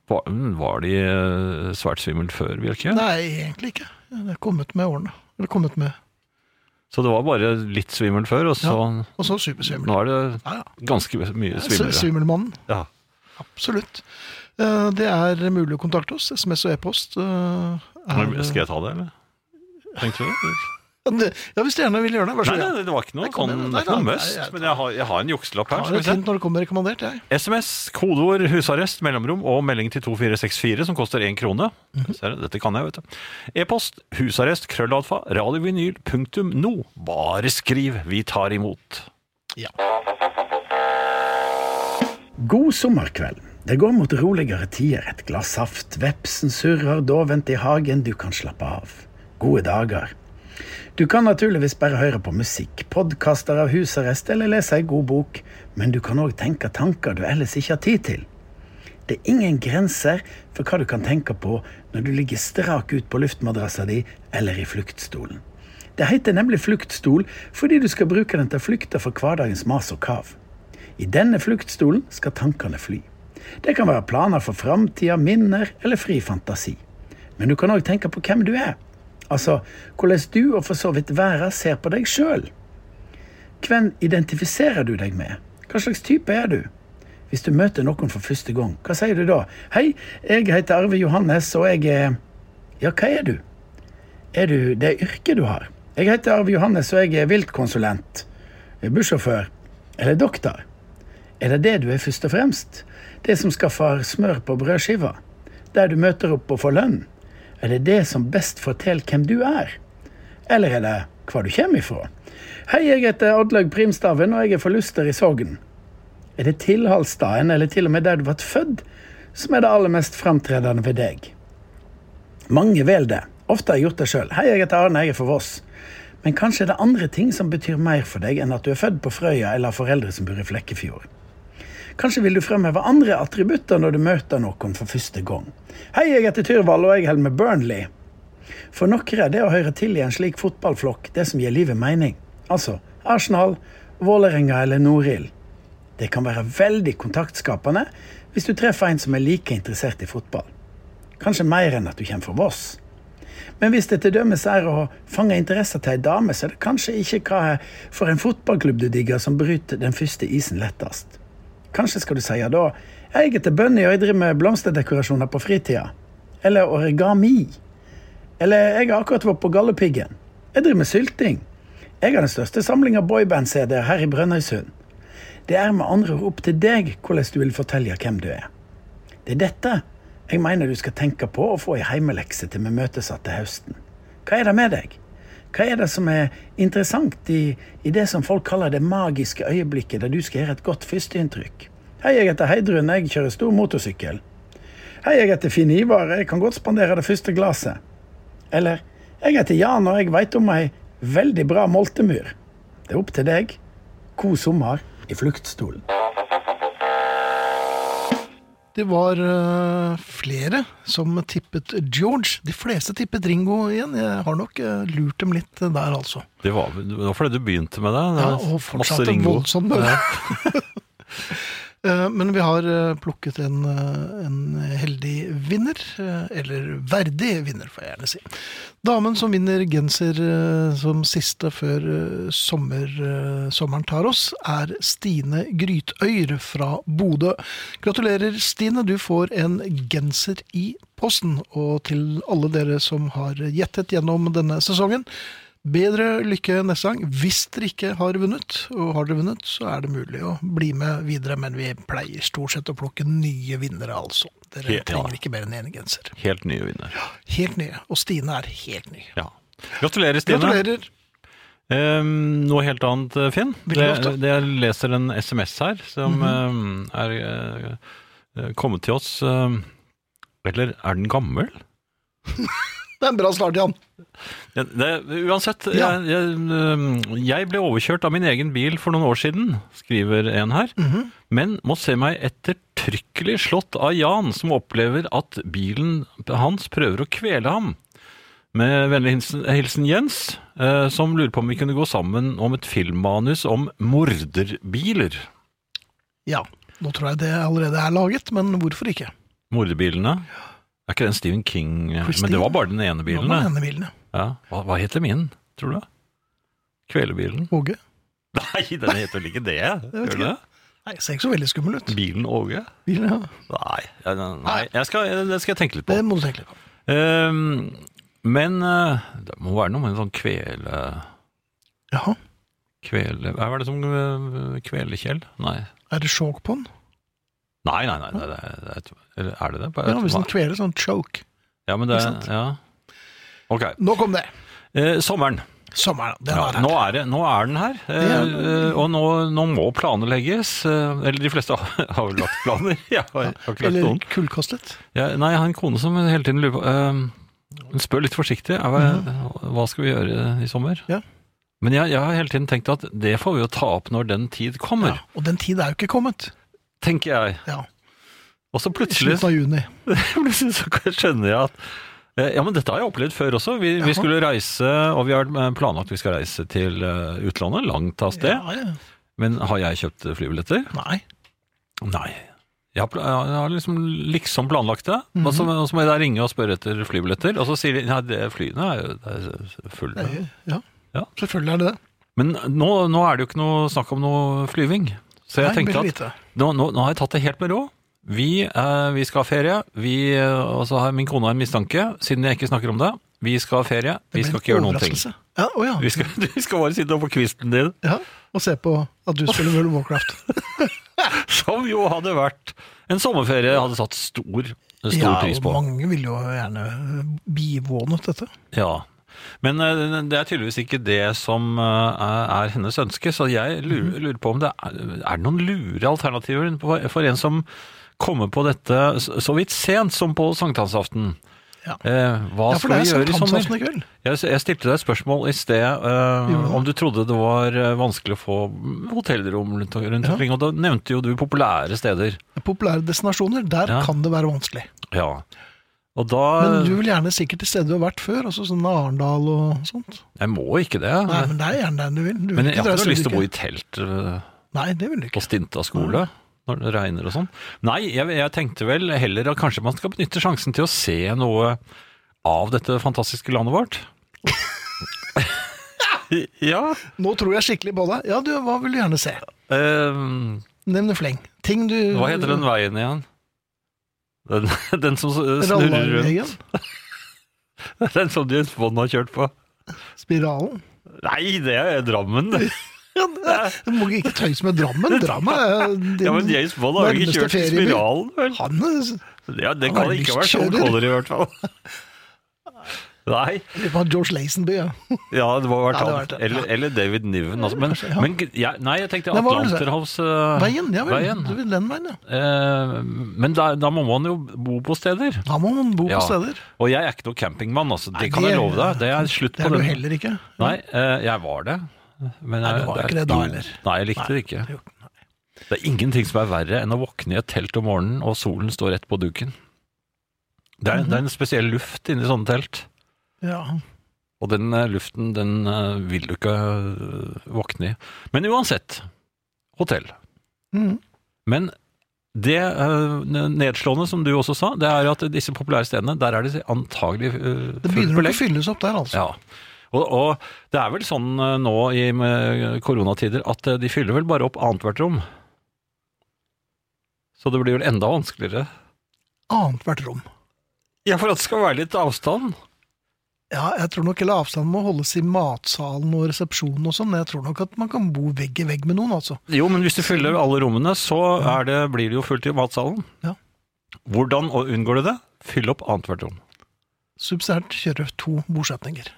[SPEAKER 3] Var, mm, var de eh, svært svimmel før, Bjørke?
[SPEAKER 2] Nei, egentlig ikke. Det er kommet med årene. Eller kommet med.
[SPEAKER 3] Så det var bare litt svimmel før, og så
[SPEAKER 2] Og så supersvimmel.
[SPEAKER 3] nå er det
[SPEAKER 2] Ja, ja.
[SPEAKER 3] ganske mye svimlere.
[SPEAKER 2] Svimmelmannen.
[SPEAKER 3] Ja.
[SPEAKER 2] Absolutt. Eh, Det er mulig å kontakte oss. SMS og e-post. eh,
[SPEAKER 3] Men
[SPEAKER 2] Er,
[SPEAKER 3] Skal jeg ta det, eller? Tenkte du det?
[SPEAKER 2] ja, hvis dere gjerne vil gjøre det, vær så
[SPEAKER 3] Nei,
[SPEAKER 2] god.
[SPEAKER 3] nei, det var ikke noe
[SPEAKER 2] Nei, kom
[SPEAKER 3] sånn,
[SPEAKER 2] igjen,
[SPEAKER 3] det er ikke
[SPEAKER 2] nei,
[SPEAKER 3] noe
[SPEAKER 2] nei,
[SPEAKER 3] must,
[SPEAKER 2] nei, jeg
[SPEAKER 3] men jeg har, jeg har en jukselapp her.
[SPEAKER 2] Ja, det
[SPEAKER 3] Skal vi
[SPEAKER 2] er
[SPEAKER 3] se.
[SPEAKER 2] fint når det kommer rekommandert, jeg.
[SPEAKER 3] SMS, kodeord, husarrest, mellomrom og melding til 24464 som koster én krone.
[SPEAKER 2] Mhm.
[SPEAKER 3] Ser du, Dette kan jeg, vet du. E-post husarrest krøllalfa radiovinyl punktum no. Bare skriv, vi tar imot.
[SPEAKER 4] God sommerkveld. Det går mot roligere tider. Et glass saft, vepsen surrer dovent i hagen, du kan slappe av. Gode dager. Du kan naturligvis bare høre på musikk, podkaster av husarrest eller lese ei god bok, men du kan òg tenke tanker du ellers ikke har tid til. Det er ingen grenser for hva du kan tenke på når du ligger strak ut på luftmadrassa di eller i fluktstolen. Det heter nemlig fluktstol fordi du skal bruke den til å flykte fra hverdagens mas og kav. I denne fluktstolen skal tankene fly. Det kan være planer for framtida, minner eller fri fantasi. Men du kan òg tenke på hvem du er. Altså hvordan du, og for så vidt verden, ser på deg sjøl. Hvem identifiserer du deg med? Hva slags type er du? Hvis du møter noen for første gang, hva sier du da? Hei, jeg heter Arve Johannes, og jeg er Ja, hva er du? Er du det yrket du har? Jeg heter Arve Johannes, og jeg er viltkonsulent, bussjåfør eller doktor. Er det det du er først og fremst? Det som skaffer smør på brødskiva? Der du møter opp og får lønn? Er det det som best forteller hvem du er? Eller er det hvor du kommer ifra? Hei, jeg heter Oddlaug Primstaven, og jeg er fra Luster i Sogn. Er det tilholdsstaden, eller til og med der du ble født, som er det aller mest framtredende ved deg? Mange vel det. Ofte har jeg gjort det sjøl. Hei, jeg heter Arne, jeg er fra Voss. Men kanskje er det andre ting som betyr mer for deg enn at du er født på Frøya eller har foreldre som bor i Flekkefjord. Kanskje vil du fremheve andre attributter når du møter noen for første gang. Hei, jeg heter Tyrvald, og jeg holder med Burnley. For noen er det å høre til i en slik fotballflokk det som gir livet mening. Altså Arsenal, Vålerenga eller Norild. Det kan være veldig kontaktskapende hvis du treffer en som er like interessert i fotball. Kanskje mer enn at du kommer fra Voss. Men hvis det til dømes er å fange interesser til ei dame, så er det kanskje ikke hva for en fotballklubb du digger, som bryter den første isen lettest. Kanskje skal du si da 'Jeg heter Bunny, og jeg driver med blomsterdekorasjoner på fritida'. Eller 'origami'. Eller 'Jeg har akkurat vært på Galdhøpiggen'. 'Jeg driver med sylting'. 'Jeg har den største samlinga boyband-CD-er her i Brønnøysund'. Det er med andre ord opp til deg hvordan du vil fortelle hvem du er. Det er dette jeg mener du skal tenke på og få i heimelekse til vi møtes igjen til høsten. Hva er det med deg? Hva er det som er interessant i, i det som folk kaller det magiske øyeblikket der du skal gjøre et godt førsteinntrykk? Hei, jeg heter Heidrun, jeg kjører stor motorsykkel. Hei, jeg heter Finn Ivar, jeg kan godt spandere det første glasset. Eller jeg heter Jan, og jeg veit om ei veldig bra moltemur. Det er opp til deg. God sommer i fluktstolen.
[SPEAKER 2] Det var eh, flere som tippet George. De fleste tippet Ringo igjen. Jeg har nok eh, lurt dem litt eh, der, altså.
[SPEAKER 3] Det var, vel- det var fordi du begynte med det. det
[SPEAKER 2] Ja,
[SPEAKER 3] var
[SPEAKER 2] og
[SPEAKER 3] masse
[SPEAKER 2] fortsatte
[SPEAKER 3] Ringo.
[SPEAKER 2] voldsomt med det. Eh, Men vi har eh, plukket en, eh, en heldig vinner, eh, eller verdig vinner, får jeg gjerne si. Damen som vinner genser eh, som siste før eh, sommer, eh, sommeren tar oss, er Stine Grytøyr fra Bodø. Gratulerer, Stine. Du får en genser i posten. Og til alle dere som har gjettet gjennom denne sesongen, Bedre lykke neste gang. Hvis dere ikke har vunnet, og har dere vunnet, så er det mulig å bli med videre, men vi pleier stort sett å plukke nye vinnere, altså. Dere
[SPEAKER 3] Ja.
[SPEAKER 2] trenger ikke mer enn én genser.
[SPEAKER 3] Helt nye vinner.
[SPEAKER 2] Helt nye. Og Stine er helt ny.
[SPEAKER 3] Ja. Gratulerer, Stine.
[SPEAKER 2] Gratulerer.
[SPEAKER 3] Ehm, noe helt annet, eh, Finn.
[SPEAKER 2] Veldig Mhm.
[SPEAKER 3] Det,
[SPEAKER 2] ofte.
[SPEAKER 3] det jeg leser en SMS her som eh, er eh, kommet til oss eh, Eller er den gammel?
[SPEAKER 2] Det er en bra start, Jan.
[SPEAKER 3] Det, det, uansett,
[SPEAKER 2] Ja.
[SPEAKER 3] jeg, jeg, eh, jeg ble overkjørt av min egen bil for noen år siden, skriver en her. Men må se meg ettertrykkelig slått av Jan, som opplever at bilen hans prøver å kvele ham. Med vennlig hilsen, hilsen Jens, eh, som lurer på om vi kunne gå sammen om et filmmanus om morderbiler.
[SPEAKER 2] Ja. Nå tror jeg det allerede er laget, men hvorfor ikke?
[SPEAKER 3] Morderbilene. Er ikke den Stephen King
[SPEAKER 2] Christine?
[SPEAKER 3] Men det var bare den ene bilen.
[SPEAKER 2] Nå må
[SPEAKER 3] det.
[SPEAKER 2] denne bilen, ja.
[SPEAKER 3] Ja. Hva, hva heter min, tror du? Kvelebilen?
[SPEAKER 2] Åge?
[SPEAKER 3] Nei, den heter vel ikke det?
[SPEAKER 2] vet
[SPEAKER 3] Gjør
[SPEAKER 2] ikke.
[SPEAKER 3] det?
[SPEAKER 2] Nei, ser ikke så veldig skummel ut.
[SPEAKER 3] Bilen Åge?
[SPEAKER 2] Bilen, ja.
[SPEAKER 3] Nei, ja, nei, nei. Jeg skal, det skal jeg tenke litt på.
[SPEAKER 2] Det må du tenke litt på.
[SPEAKER 3] Ehm, men eh, det må være noe med en sånn kvele...
[SPEAKER 2] Jaha.
[SPEAKER 3] kvele hva er det som eh, Kvelekjell? Nei.
[SPEAKER 2] Er det sjåk på den?
[SPEAKER 3] Nei, nei, nei. nei, nei, det er, eller er det det?
[SPEAKER 2] Ja, hvis den kveler sånn choke.
[SPEAKER 3] ja, men det
[SPEAKER 2] ikke sant?
[SPEAKER 3] ja. Ok.
[SPEAKER 2] Nå kom det.
[SPEAKER 3] Eh, sommeren.
[SPEAKER 2] Sommeren. Den
[SPEAKER 3] Ja,
[SPEAKER 2] var her.
[SPEAKER 3] nå, er det, nå er den her, eh,
[SPEAKER 2] Ja.
[SPEAKER 3] eh, og nå, nå må planer legges. Eh, eller de fleste har, har vel lagt planer. Jeg har, jeg har ikke lagt
[SPEAKER 2] Eller
[SPEAKER 3] noen.
[SPEAKER 2] kullkastet.
[SPEAKER 3] Ja, nei, jeg har en kone som hele tiden lurer på eh, Hun spør litt forsiktig er, hva, hva skal vi gjøre i sommer.
[SPEAKER 2] Mhm. Ja.
[SPEAKER 3] Men jeg, jeg har hele tiden tenkt at det får vi jo ta opp når den tid kommer,
[SPEAKER 2] Ja, og den tid er jo ikke kommet.
[SPEAKER 3] tenker jeg.
[SPEAKER 2] Ja,
[SPEAKER 3] Og så
[SPEAKER 2] I
[SPEAKER 3] plutselig,
[SPEAKER 2] slutten av juni.
[SPEAKER 3] plutselig så skjønner jeg at eh, ja, men Dette har jeg opplevd før også. Vi,
[SPEAKER 2] Jaha.
[SPEAKER 3] vi skulle reise, og vi har eh, planlagt vi skal reise til eh, utlandet, langt av sted.
[SPEAKER 2] Ja, ja.
[SPEAKER 3] Men har jeg kjøpt flybilletter?
[SPEAKER 2] Nei.
[SPEAKER 3] Nei. Jeg har, pla- jeg har liksom, liksom planlagt det, og så
[SPEAKER 2] Mhm.
[SPEAKER 3] og så må jeg da ringe og spørre etter flybilletter. Og så sier de nei, det, flyene er jo det er fulle.
[SPEAKER 2] Nei, ja.
[SPEAKER 3] Ja.
[SPEAKER 2] Selvfølgelig er det det.
[SPEAKER 3] Men nå, nå er det jo ikke noe snakk om noe flyving. Så jeg
[SPEAKER 2] Nei,
[SPEAKER 3] tenkte
[SPEAKER 2] veldig
[SPEAKER 3] at
[SPEAKER 2] lite.
[SPEAKER 3] nå, nå, nå har jeg tatt det helt med ro. Vi, eh, vi skal ha ferie. Vi, eh, og så har min kone en mistanke, siden jeg ikke snakker om det. Vi skal ha ferie. Vi
[SPEAKER 2] Det
[SPEAKER 3] skal
[SPEAKER 2] blir en
[SPEAKER 3] ikke gjøre noen ting.
[SPEAKER 2] overraskelse. Ja, å ja.
[SPEAKER 3] Vi skal, vi skal bare sitte oppå kvisten din,
[SPEAKER 2] ja. Og se på at du spiller World of Warcraft.
[SPEAKER 3] som jo hadde vært en sommerferie jeg hadde satt stor, stor
[SPEAKER 2] ja,
[SPEAKER 3] pris på.
[SPEAKER 2] og mange ville jo gjerne eh, bivånet dette.
[SPEAKER 3] Ja, men eh, det er tydeligvis ikke det som eh, er er hennes ønske, så jeg
[SPEAKER 2] Mhm.
[SPEAKER 3] lurer, lurer på om det er, er det noen lure alternativer på- for en som kommer på dette s- så vidt sent som på sankthansaften.
[SPEAKER 2] Ja.
[SPEAKER 3] Eh, hva
[SPEAKER 2] Ja, for
[SPEAKER 3] skal
[SPEAKER 2] det
[SPEAKER 3] vi
[SPEAKER 2] er
[SPEAKER 3] gjøre i
[SPEAKER 2] sankthansaften
[SPEAKER 3] sommer?
[SPEAKER 2] i kveld.
[SPEAKER 3] Jeg, s- jeg stilte deg et spørsmål i sted eh, om du trodde det var eh, vanskelig å få hotellrom rundt, rundt
[SPEAKER 2] Ja.
[SPEAKER 3] omkring, og da nevnte jo du populære steder.
[SPEAKER 2] Populære destinasjoner, der
[SPEAKER 3] Ja.
[SPEAKER 2] kan det være vanskelig.
[SPEAKER 3] Ja. Og da
[SPEAKER 2] Men du vil gjerne sikkert til steder du har vært før, altså sånn Arendal og sånt.
[SPEAKER 3] Jeg må ikke det.
[SPEAKER 2] Nei, men det er gjerne der du vil. Du vil
[SPEAKER 3] men jeg har
[SPEAKER 2] dra
[SPEAKER 3] ikke
[SPEAKER 2] steder
[SPEAKER 3] noe lyst
[SPEAKER 2] du
[SPEAKER 3] til å bo
[SPEAKER 2] ikke-
[SPEAKER 3] i telt. eh,
[SPEAKER 2] Nei, det vil du
[SPEAKER 3] på
[SPEAKER 2] ikke.
[SPEAKER 3] Stinta skole når det regner og sånn. Nei, jeg, jeg tenkte vel heller at kanskje man skal benytte sjansen til å se noe av dette fantastiske landet vårt. ja.
[SPEAKER 2] Nå tror jeg skikkelig på deg. Ja, du, hva vil du gjerne se?
[SPEAKER 3] ehm,
[SPEAKER 2] Nevne fleng. Ting du
[SPEAKER 3] hva heter den veien igjen? Den, den som snurrer rundt.
[SPEAKER 2] Rallarvegen?
[SPEAKER 3] Den som James Bond har kjørt på.
[SPEAKER 2] Spiralen?
[SPEAKER 3] Nei, det er Drammen. det.
[SPEAKER 2] Ja, det- du må ikke tøyse med Drammen. Drammen er din
[SPEAKER 3] Ja, men James Bond har jo
[SPEAKER 2] nærmeste
[SPEAKER 3] ikke kjørt i
[SPEAKER 2] ferieby.
[SPEAKER 3] spiralen, vel?
[SPEAKER 2] Han eh, er-
[SPEAKER 3] Ja, det
[SPEAKER 2] Han
[SPEAKER 3] kan
[SPEAKER 2] er
[SPEAKER 3] ikke ha vært Sean
[SPEAKER 2] lystkjører.
[SPEAKER 3] Connery, i hvert fall. Nei.
[SPEAKER 2] Det var George Lazenby, ja.
[SPEAKER 3] Ja, det må ha
[SPEAKER 2] Ja,
[SPEAKER 3] vært
[SPEAKER 2] det
[SPEAKER 3] han.
[SPEAKER 2] har vært det, ja.
[SPEAKER 3] Eller, eller David Niven. Altså. Men,
[SPEAKER 2] Kanskje, ja.
[SPEAKER 3] men ja, nei, jeg tenkte
[SPEAKER 2] Nei, hva var det du sa?
[SPEAKER 3] Atlanterhavsveien.
[SPEAKER 2] Veien, ja vel. Du vil den veien, ja.
[SPEAKER 3] Eh, men da, da må man jo bo på steder.
[SPEAKER 2] Da må man bo
[SPEAKER 3] Ja.
[SPEAKER 2] på steder.
[SPEAKER 3] Og jeg er ikke noen campingmann, altså. Det
[SPEAKER 2] Nei,
[SPEAKER 3] kan jeg
[SPEAKER 2] det-
[SPEAKER 3] love deg. Det er slutt
[SPEAKER 2] Det
[SPEAKER 3] på
[SPEAKER 2] er du
[SPEAKER 3] den.
[SPEAKER 2] heller ikke.
[SPEAKER 3] Nei, eh, jeg var det. Men
[SPEAKER 2] Nei, du var ikke det da,
[SPEAKER 3] jo,
[SPEAKER 2] heller.
[SPEAKER 3] Nei, jeg likte det ikke.
[SPEAKER 2] Det er jo-
[SPEAKER 3] Det er ingenting som er verre enn å våkne i et telt om morgenen, og solen står rett på duken. Det er, det er en spesiell luft inni sånne telt.
[SPEAKER 2] Ja.
[SPEAKER 3] Og den eh, luften, den eh, vil du ikke eh, våkne i. Men uansett, hotell.
[SPEAKER 2] Mm.
[SPEAKER 3] Men det eh, nedslående, som du også sa, det er at disse populære stedene, der er det antagelig eh,
[SPEAKER 2] Det
[SPEAKER 3] fullt
[SPEAKER 2] begynner nok å
[SPEAKER 3] belegg.
[SPEAKER 2] fylles opp der, altså.
[SPEAKER 3] Ja. Og, og det er vel sånn eh, nå i med koronatider at eh, de fyller vel bare opp annethvert rom. Så det blir vel enda vanskeligere.
[SPEAKER 2] Annethvert rom.
[SPEAKER 3] Ja, for at det skal være litt avstand.
[SPEAKER 2] Ja, jeg tror nok hele avstanden må holdes i matsalen og resepsjonen og sånn. men Jeg tror nok at man kan bo vegg i vegg med noen, altså.
[SPEAKER 3] Jo, men hvis du fyller alle rommene, så er det, blir det jo fullt i matsalen.
[SPEAKER 2] Ja.
[SPEAKER 3] Hvordan og unngår du det? Fyll opp annethvert rom.
[SPEAKER 2] Subsidiært kjøre to bosetninger.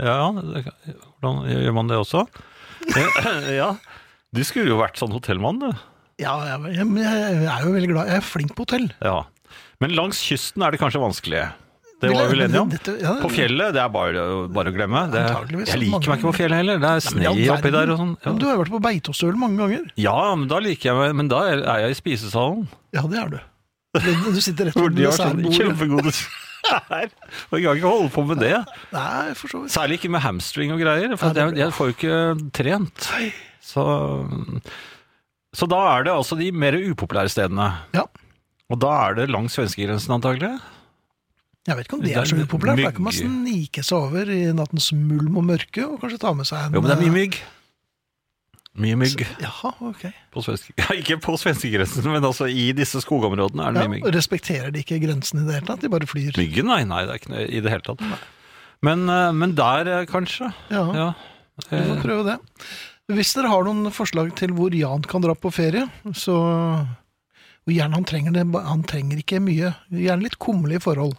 [SPEAKER 3] Ja, det, hvordan gjør man det også? ja. Du skulle jo vært sånn hotellmann, du.
[SPEAKER 2] Ja, jeg, jeg, jeg er jo veldig glad. Jeg er flink på hotell.
[SPEAKER 3] Ja. Men langs kysten er det kanskje vanskelig. Det var vi vel enige om.
[SPEAKER 2] Dette- ja,
[SPEAKER 3] På fjellet, det er bare, bare å glemme. Det,
[SPEAKER 2] Antageligvis,
[SPEAKER 3] jeg
[SPEAKER 2] mange
[SPEAKER 3] liker meg ikke på fjellet heller. Det er
[SPEAKER 2] men i
[SPEAKER 3] sne
[SPEAKER 2] all
[SPEAKER 3] oppi der og sånn.
[SPEAKER 2] Ja, men du
[SPEAKER 3] Ja.
[SPEAKER 2] har jo vært på Beitostølen mange ganger.
[SPEAKER 3] ja, men da liker jeg meg Men da er er jeg i spisesalen.
[SPEAKER 2] Ja, det er du. Du du sitter rett
[SPEAKER 3] Hvor
[SPEAKER 2] ved
[SPEAKER 3] de har sånn sånne
[SPEAKER 2] dessertbordet.
[SPEAKER 3] kjempegode skjær. Og jeg kan ikke holde på med det.
[SPEAKER 2] Nei, for så vidt.
[SPEAKER 3] Særlig ikke med hamstring og greier, for
[SPEAKER 2] Nei, det
[SPEAKER 3] jeg, jeg får jo ikke trent. Så, så da er det altså de mer upopulære stedene.
[SPEAKER 2] Ja.
[SPEAKER 3] Og da er det langs svenskegrensen antagelig.
[SPEAKER 2] Jeg vet ikke om det
[SPEAKER 3] Det er
[SPEAKER 2] er så upopulært. Da kan man
[SPEAKER 3] mygg.
[SPEAKER 2] snike seg over i nattens mulm og mørke, og kanskje ta med seg en eh,
[SPEAKER 3] Jo, men det er mye mygg. Mye mygg
[SPEAKER 2] Jaha, ok.
[SPEAKER 3] på svenske... Ja, ikke på svenskegrensen, men altså i disse skogområdene er det
[SPEAKER 2] Ja,
[SPEAKER 3] mye mygg.
[SPEAKER 2] og respekterer de ikke grensen i det hele tatt? De bare flyr?
[SPEAKER 3] Myggen, nei, nei, det er ikke noe i det hele tatt. Men, eh, men der, eh, kanskje.
[SPEAKER 2] Ja,
[SPEAKER 3] Ja. Eh,
[SPEAKER 2] vi får prøve det. Hvis dere har noen forslag til hvor Jan kan dra på ferie, så og gjerne han trenger det, han trenger ikke mye. Gjerne litt kummerlige forhold.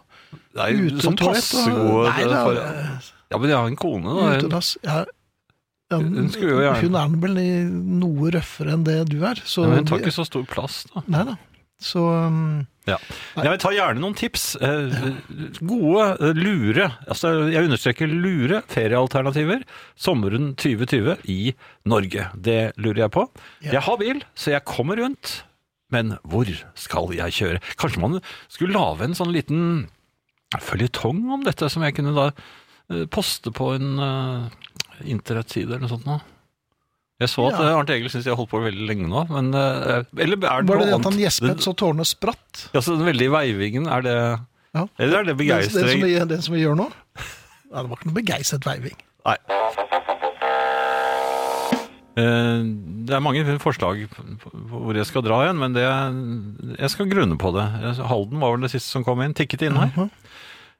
[SPEAKER 3] Det er jo sånn
[SPEAKER 2] Utetoalett
[SPEAKER 3] passe
[SPEAKER 2] og
[SPEAKER 3] gode
[SPEAKER 2] Nei da,
[SPEAKER 3] for... Ja, men jeg har en kone, da. Hun-
[SPEAKER 2] utedass. Ja, ja,
[SPEAKER 3] Hun skulle jo gjerne-
[SPEAKER 2] Hun er vel i noe røffere enn det du er. Så
[SPEAKER 3] Ja, men hun tar ikke så stor plass, da.
[SPEAKER 2] Nei da. Så um,
[SPEAKER 3] Ja. Jeg vil ta gjerne noen tips. Eh, Gode, eh, lure, altså jeg understreker lure feriealternativer sommeren 2020 i Norge. Det lurer jeg på.
[SPEAKER 2] Ja.
[SPEAKER 3] Jeg har bil, så jeg kommer rundt, men hvor skal jeg kjøre? Kanskje man skulle lage en sånn liten føljetong om dette, som jeg kunne da eh, poste på en eh, internettside eller noe sånt nå. Jeg så at
[SPEAKER 2] Ja.
[SPEAKER 3] eh, Arnt Egil syns jeg har holdt på veldig lenge nå, men eh, Eller er det
[SPEAKER 2] Var det det
[SPEAKER 3] noe
[SPEAKER 2] at han
[SPEAKER 3] annet?
[SPEAKER 2] gjespet
[SPEAKER 3] Den-
[SPEAKER 2] så tårene spratt?
[SPEAKER 3] Altså, den veldige veivingen, er det
[SPEAKER 2] Ja.
[SPEAKER 3] Eller er det
[SPEAKER 2] Den, den, som
[SPEAKER 3] begeistring?
[SPEAKER 2] vi, den som vi gjør nå? Nei, det var ikke noe begeistret veiving.
[SPEAKER 3] Nei. Eh, Det er mange forslag på- på hvor jeg skal dra igjen, men det, jeg skal grunne på det. Jeg- Halden var vel det siste som kom inn. Tikket inn her.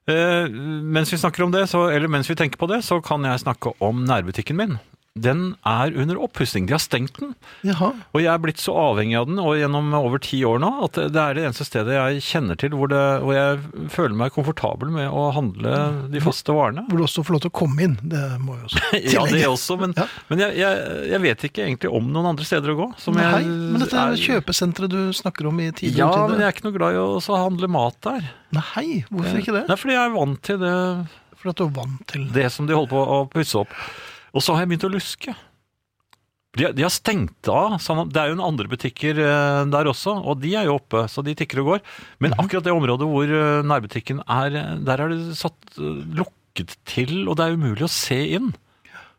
[SPEAKER 3] Eh, Mens vi snakker om det, så, eller mens vi tenker på det, så kan jeg snakke om nærbutikken min. Den er under oppussing. De har stengt den.
[SPEAKER 2] Jaha.
[SPEAKER 3] Og jeg er blitt så avhengig av den og gjennom over ti år nå at det er det eneste stedet jeg kjenner til hvor, det, hvor jeg føler meg komfortabel med å handle de faste varene.
[SPEAKER 2] Hvor du også får lov til å komme inn. Det må jo også
[SPEAKER 3] Ja, det
[SPEAKER 2] tillegge.
[SPEAKER 3] også, men,
[SPEAKER 2] Ja.
[SPEAKER 3] men jeg, jeg, jeg vet ikke egentlig om noen andre steder å gå. Som
[SPEAKER 2] Nei,
[SPEAKER 3] jeg,
[SPEAKER 2] men dette er kjøpesenteret du snakker om i tidligere
[SPEAKER 3] Ja, men jeg er ikke noe glad i å også handle mat der.
[SPEAKER 2] Nei, hvorfor ikke det?
[SPEAKER 3] Nei, fordi jeg er vant til det,
[SPEAKER 2] For at du er vant til
[SPEAKER 3] det som de holder på å pusse opp. Og så har jeg begynt å luske. De, har- de har stengt av. sånn at- Det er jo noen andre butikker eh, der også, og de er jo oppe, så de tikker og går. Men
[SPEAKER 2] Mhm.
[SPEAKER 3] akkurat det området hvor eh, nærbutikken er, eh, der er det satt eh, lukket til, og det er umulig å se inn.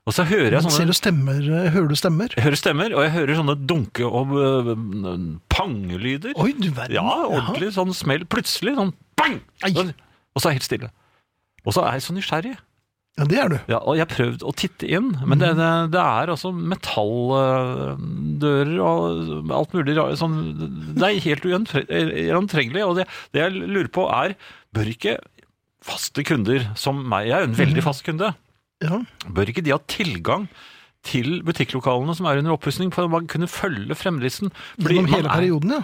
[SPEAKER 3] Og så hører
[SPEAKER 2] Men
[SPEAKER 3] jeg sånne
[SPEAKER 2] ser du stemmer, eh, hører du stemmer?
[SPEAKER 3] Jeg hører stemmer, og jeg hører sånne dunke- og øh, pangelyder.
[SPEAKER 2] Oi, du verden.
[SPEAKER 3] ja, ordentlig sånn smell. Plutselig sånn bang!
[SPEAKER 2] Ai.
[SPEAKER 3] Sånn, Og så er jeg helt stille. Og så er jeg så nysgjerrig.
[SPEAKER 2] Ja, det er du.
[SPEAKER 3] Ja, og jeg har prøvd å titte inn, men
[SPEAKER 2] Mhm.
[SPEAKER 3] det, det, det er altså metalldører og alt mulig rar- sånn, Det er helt uantre- gjennomtrengelig. Og det, det jeg lurer på, er Bør ikke faste kunder som meg Jeg er jo en
[SPEAKER 2] Mhm.
[SPEAKER 3] veldig fast kunde.
[SPEAKER 2] Ja.
[SPEAKER 3] Bør ikke de ha tilgang til butikklokalene som er under oppussing, for at man kunne følge fremdriften?
[SPEAKER 2] Gjennom
[SPEAKER 3] man
[SPEAKER 2] hele
[SPEAKER 3] er-
[SPEAKER 2] perioden, ja.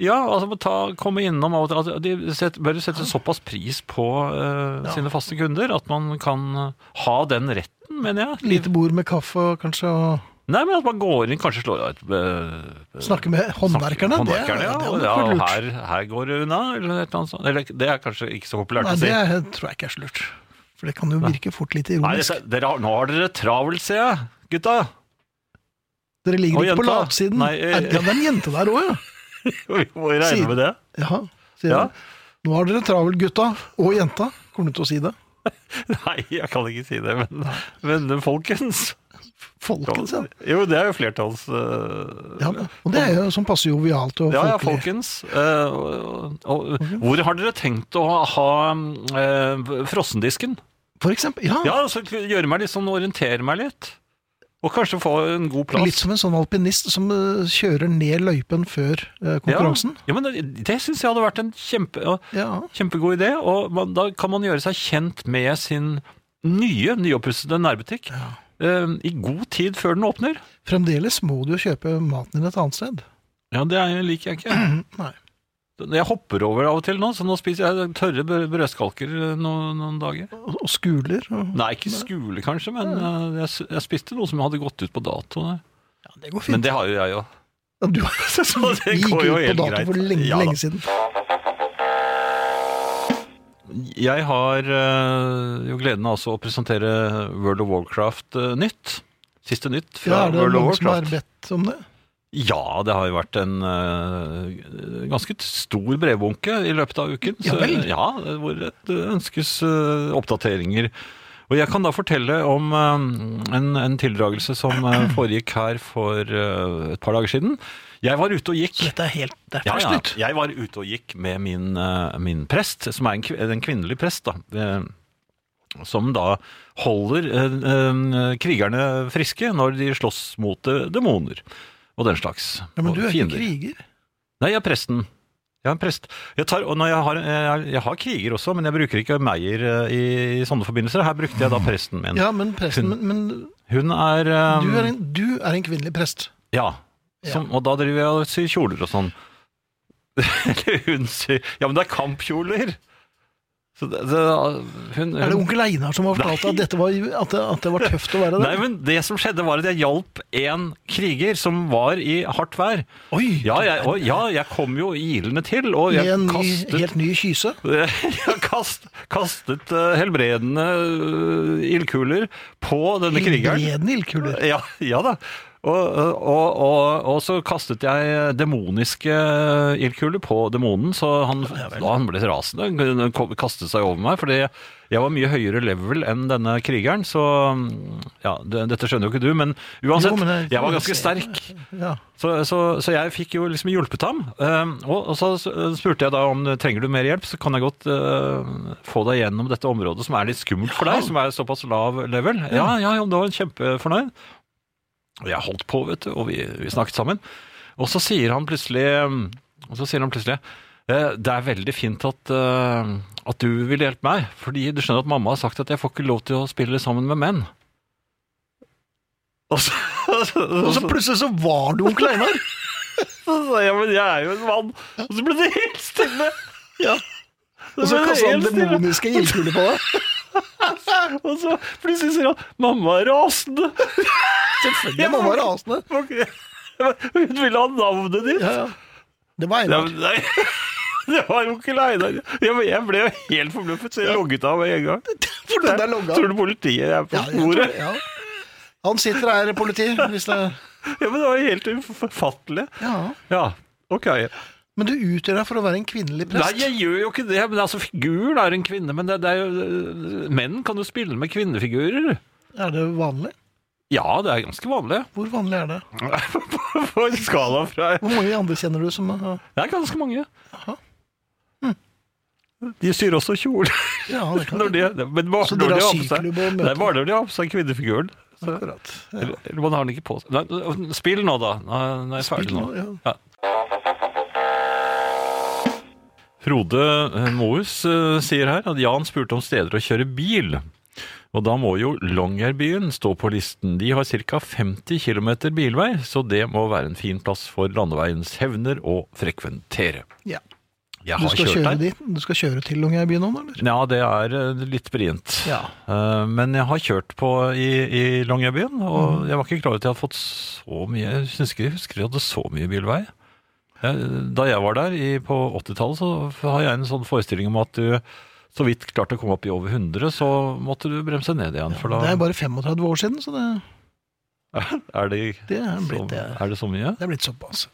[SPEAKER 3] Ja, altså må ta, komme innom av og til. Altså, de set, bør sette såpass pris på eh,
[SPEAKER 2] Ja.
[SPEAKER 3] sine faste kunder at man kan eh, ha den retten, mener jeg.
[SPEAKER 2] Lite bord med kaffe og kanskje og
[SPEAKER 3] Nei, men at man går inn, kanskje slår av et eh,
[SPEAKER 2] snakke med håndverkerne. det-
[SPEAKER 3] snakker- håndverkerne, ja,
[SPEAKER 2] det
[SPEAKER 3] og
[SPEAKER 2] hadde
[SPEAKER 3] ja,
[SPEAKER 2] vært
[SPEAKER 3] og
[SPEAKER 2] lurt.
[SPEAKER 3] her, her går det unna, eller et eller annet sånt. Eller, det er kanskje ikke så populært
[SPEAKER 2] Nei,
[SPEAKER 3] å si.
[SPEAKER 2] det er- tror jeg ikke er så lurt. For det kan jo virke fort litt
[SPEAKER 3] Nei,
[SPEAKER 2] ironisk.
[SPEAKER 3] dette- dere, har- nå har dere travelt, ser jeg, gutta.
[SPEAKER 2] Dere ligger
[SPEAKER 3] Og
[SPEAKER 2] ikke på
[SPEAKER 3] jenta.
[SPEAKER 2] latsiden.
[SPEAKER 3] Nei, eh,
[SPEAKER 2] Er- ja, det er en jente der òg, ja.
[SPEAKER 3] Vi må jo
[SPEAKER 2] Si-
[SPEAKER 3] regne med det.
[SPEAKER 2] Jaha, sier
[SPEAKER 3] Ja.
[SPEAKER 2] han. Nå har dere travelt, gutta. Og jenta. Kommer du til å si det?
[SPEAKER 3] Nei, jeg kan ikke si det, men, men folkens
[SPEAKER 2] Folkens, ja.
[SPEAKER 3] Jo, det er jo flertalls... øh,
[SPEAKER 2] ja. Og det er jo som passer jovialt og
[SPEAKER 3] ja, ja,
[SPEAKER 2] folkelig.
[SPEAKER 3] folkens. øh, og, og, hvor har dere tenkt å ha øh, frossendisken?
[SPEAKER 2] For eksempel. Ja,
[SPEAKER 3] Ja, så gjøre meg litt sånn, orientere meg litt. Og kanskje få en god plass.
[SPEAKER 2] Litt som en sånn alpinist som eh, kjører ned løypen før eh, konkurransen.
[SPEAKER 3] Ja, ja men det, det syns jeg hadde vært en kjempe, ja,
[SPEAKER 2] Ja.
[SPEAKER 3] kjempegod idé. Og man, da kan man gjøre seg kjent med sin nye, nyoppussede nærbutikk. øh, I god tid før den åpner.
[SPEAKER 2] Fremdeles må du jo kjøpe maten din et annet sted.
[SPEAKER 3] Ja, det er- liker jeg ikke.
[SPEAKER 2] Nei.
[SPEAKER 3] Jeg hopper over av og til nå, så nå spiser jeg tørre brø- brødskalker noen, noen dager.
[SPEAKER 2] Og og skuler. Og...
[SPEAKER 3] Nei, ikke skule kanskje, men eh, jeg, s- jeg spiste noe som hadde gått ut på dato. der.
[SPEAKER 2] Ja, det går
[SPEAKER 3] Men
[SPEAKER 2] fint.
[SPEAKER 3] det har jo jeg jo.
[SPEAKER 2] Ja, Du,
[SPEAKER 3] Så
[SPEAKER 2] vi
[SPEAKER 3] det
[SPEAKER 2] gikk
[SPEAKER 3] går
[SPEAKER 2] ut
[SPEAKER 3] jo
[SPEAKER 2] på
[SPEAKER 3] helt
[SPEAKER 2] dato
[SPEAKER 3] greit.
[SPEAKER 2] for lenge,
[SPEAKER 3] Ja da.
[SPEAKER 2] lenge siden.
[SPEAKER 3] Jeg har eh, jo gleden av også å presentere World of Warcraft eh, nytt. Siste nytt
[SPEAKER 2] Ja,
[SPEAKER 3] fra
[SPEAKER 2] er det
[SPEAKER 3] World of
[SPEAKER 2] noen som har
[SPEAKER 3] Warcraft.
[SPEAKER 2] bedt om det?
[SPEAKER 3] Ja, det har jo vært en eh, ganske t- stor brevbunke i løpet av uken.
[SPEAKER 2] Ja vel.
[SPEAKER 3] ja, hvor det ønskes eh, oppdateringer. Og jeg kan da fortelle om eh, en, en tildragelse som eh, foregikk her for eh, et par dager siden. Jeg var ute og gikk.
[SPEAKER 2] Dette er helt Det er
[SPEAKER 3] Ja,
[SPEAKER 2] ferskt
[SPEAKER 3] ja.
[SPEAKER 2] nytt.
[SPEAKER 3] Jeg var ute og gikk med min, eh, min prest, som er en, kvi- en kvinnelig prest, da. eh, Som da holder eh, eh, krigerne friske når de slåss mot eh, demoner og den slags.
[SPEAKER 2] Ja, men
[SPEAKER 3] og
[SPEAKER 2] du er ikke
[SPEAKER 3] fiender.
[SPEAKER 2] kriger.
[SPEAKER 3] Nei, jeg er presten. Jeg er en prest. Jeg, tar, og når jeg, har, eh, jeg, jeg har kriger også, men jeg bruker ikke Meyer eh, i, i sånne forbindelser. Her brukte jeg da presten min.
[SPEAKER 2] Mm. Ja, men presten Men, men
[SPEAKER 3] Hun er, eh,
[SPEAKER 2] du, er en, du er en kvinnelig prest.
[SPEAKER 3] Ja. Som, Og da driver jeg og syr kjoler og sånn. Eller hun syr Ja, men det er kampkjoler! Så det, det, hun,
[SPEAKER 2] Er det
[SPEAKER 3] hun-
[SPEAKER 2] onkel Einar som har fortalt deg at, dette var, at, det, at det var tøft å være
[SPEAKER 3] Nei,
[SPEAKER 2] der?
[SPEAKER 3] men det som skjedde, var at jeg hjalp en kriger som var i hardt vær.
[SPEAKER 2] Oi!
[SPEAKER 3] Ja, jeg, og, ja, jeg kom jo ilende til, og
[SPEAKER 2] I
[SPEAKER 3] jeg
[SPEAKER 2] en ny,
[SPEAKER 3] kastet
[SPEAKER 2] helt ny kyse?
[SPEAKER 3] Jeg kast, kastet eh, helbredende eh, ildkuler på denne krigeren.
[SPEAKER 2] Helbredende ildkuler.
[SPEAKER 3] Ja, ja da. Og, og, og, og så kastet jeg demoniske ildkuler på demonen, så han, da han ble rasende. Han kom- kastet seg over meg, fordi jeg var mye høyere level enn denne krigeren. Så ja, det, dette skjønner jo ikke du, men
[SPEAKER 2] Jo,
[SPEAKER 3] uansett.
[SPEAKER 2] men det-
[SPEAKER 3] jeg var ganske sterk.
[SPEAKER 2] Ja.
[SPEAKER 3] Så, så, så jeg fikk jo liksom hjulpet ham. eh, Og, og så spurte jeg da om trenger du mer hjelp, så kan jeg godt eh, få deg gjennom dette området som er litt skummelt for deg, som er såpass lav level. Ja, ja, ja, da var han kjempefornøyd. Og jeg holdt på, vet du, og vi, vi snakket sammen. Og så sier han plutselig ehm, og så sier han plutselig eh, det er veldig fint at, eh, at du vil hjelpe meg, fordi du skjønner at mamma har sagt at jeg får ikke lov til å spille sammen med menn. Og så,
[SPEAKER 2] Og så plutselig så var du onkel Einar!
[SPEAKER 3] så sa jeg, men jeg er jo en mann. Og så ble det helt stille.
[SPEAKER 2] Ja. Og så
[SPEAKER 3] ble det
[SPEAKER 2] kasta han
[SPEAKER 3] helt stille.
[SPEAKER 2] demoniske ildkuler på deg.
[SPEAKER 3] Og så plutselig sier han 'mamma er rasende'.
[SPEAKER 2] Selvfølgelig. Det må være rasende.
[SPEAKER 3] Hun ville ha navnet ditt.
[SPEAKER 2] Ja, ja. Det var
[SPEAKER 3] Ja,
[SPEAKER 2] Einar.
[SPEAKER 3] men nei. Det var jo ikke Einar. Ja, men jeg ble jo helt forbløffet, så jeg logget av med en gang.
[SPEAKER 2] For den der logga.
[SPEAKER 3] Tror du politiet er på
[SPEAKER 2] Ja, jeg tror
[SPEAKER 3] sporet?
[SPEAKER 2] det, ja. Han sitter her, politi, hvis det
[SPEAKER 3] Ja, men det var jo helt ufattelig.
[SPEAKER 2] Ja.
[SPEAKER 3] Ja, ok.
[SPEAKER 2] Men du utgjør deg for å være en kvinnelig prest.
[SPEAKER 3] Nei, jeg gjør jo ikke det. Men altså, figuren er en kvinne, men det, det er jo eh, Menn kan jo spille med kvinnefigurer.
[SPEAKER 2] Er det vanlig?
[SPEAKER 3] Ja, det er ganske vanlig.
[SPEAKER 2] Hvor vanlig er det?
[SPEAKER 3] På en skala fra
[SPEAKER 2] Hvor mange andre kjenner du som har
[SPEAKER 3] Det er ganske mange. Mm. De syr også kjole.
[SPEAKER 2] Ja, det kan
[SPEAKER 3] Når de, men bare
[SPEAKER 2] Så
[SPEAKER 3] når
[SPEAKER 2] dere
[SPEAKER 3] de
[SPEAKER 2] har
[SPEAKER 3] har på seg,
[SPEAKER 2] syklubb og møter?
[SPEAKER 3] det er bare når de har på seg kvinnefiguren. Så,
[SPEAKER 2] akkurat.
[SPEAKER 3] eller, eller man har den ikke på seg. Nei, Spill nå, da. Nå nå er jeg ferdig nå.
[SPEAKER 2] Spill nå,
[SPEAKER 3] Ja. Frode eh, Moes eh, sier her at Jan spurte om steder å kjøre bil. Og da må jo Longyearbyen stå på listen. De har ca. 50 km bilvei, så det må være en fin plass for landeveiens hevner å frekventere.
[SPEAKER 2] Ja.
[SPEAKER 3] Jeg
[SPEAKER 2] Du
[SPEAKER 3] har
[SPEAKER 2] skal
[SPEAKER 3] kjørt
[SPEAKER 2] kjøre
[SPEAKER 3] der.
[SPEAKER 2] dit? Du skal kjøre til Longyearbyen nå, eller?
[SPEAKER 3] Ja, det er eh, litt brient.
[SPEAKER 2] Ja.
[SPEAKER 3] Eh, Men jeg har kjørt på i, i Longyearbyen, og
[SPEAKER 2] Mhm.
[SPEAKER 3] jeg var ikke klar over at jeg hadde fått så mye Jeg synes ikke jeg husker jeg hadde så mye bilvei. Jeg, da jeg var der i, på 80-tallet, så har jeg en sånn forestilling om at du så vidt klarte å komme opp i over 100, så måtte du bremse ned igjen. For da
[SPEAKER 2] Det er bare 35 år siden, så det,
[SPEAKER 3] er det,
[SPEAKER 2] det er
[SPEAKER 3] så,
[SPEAKER 2] blitt det.
[SPEAKER 3] er det så mye?
[SPEAKER 2] Det er blitt såpass.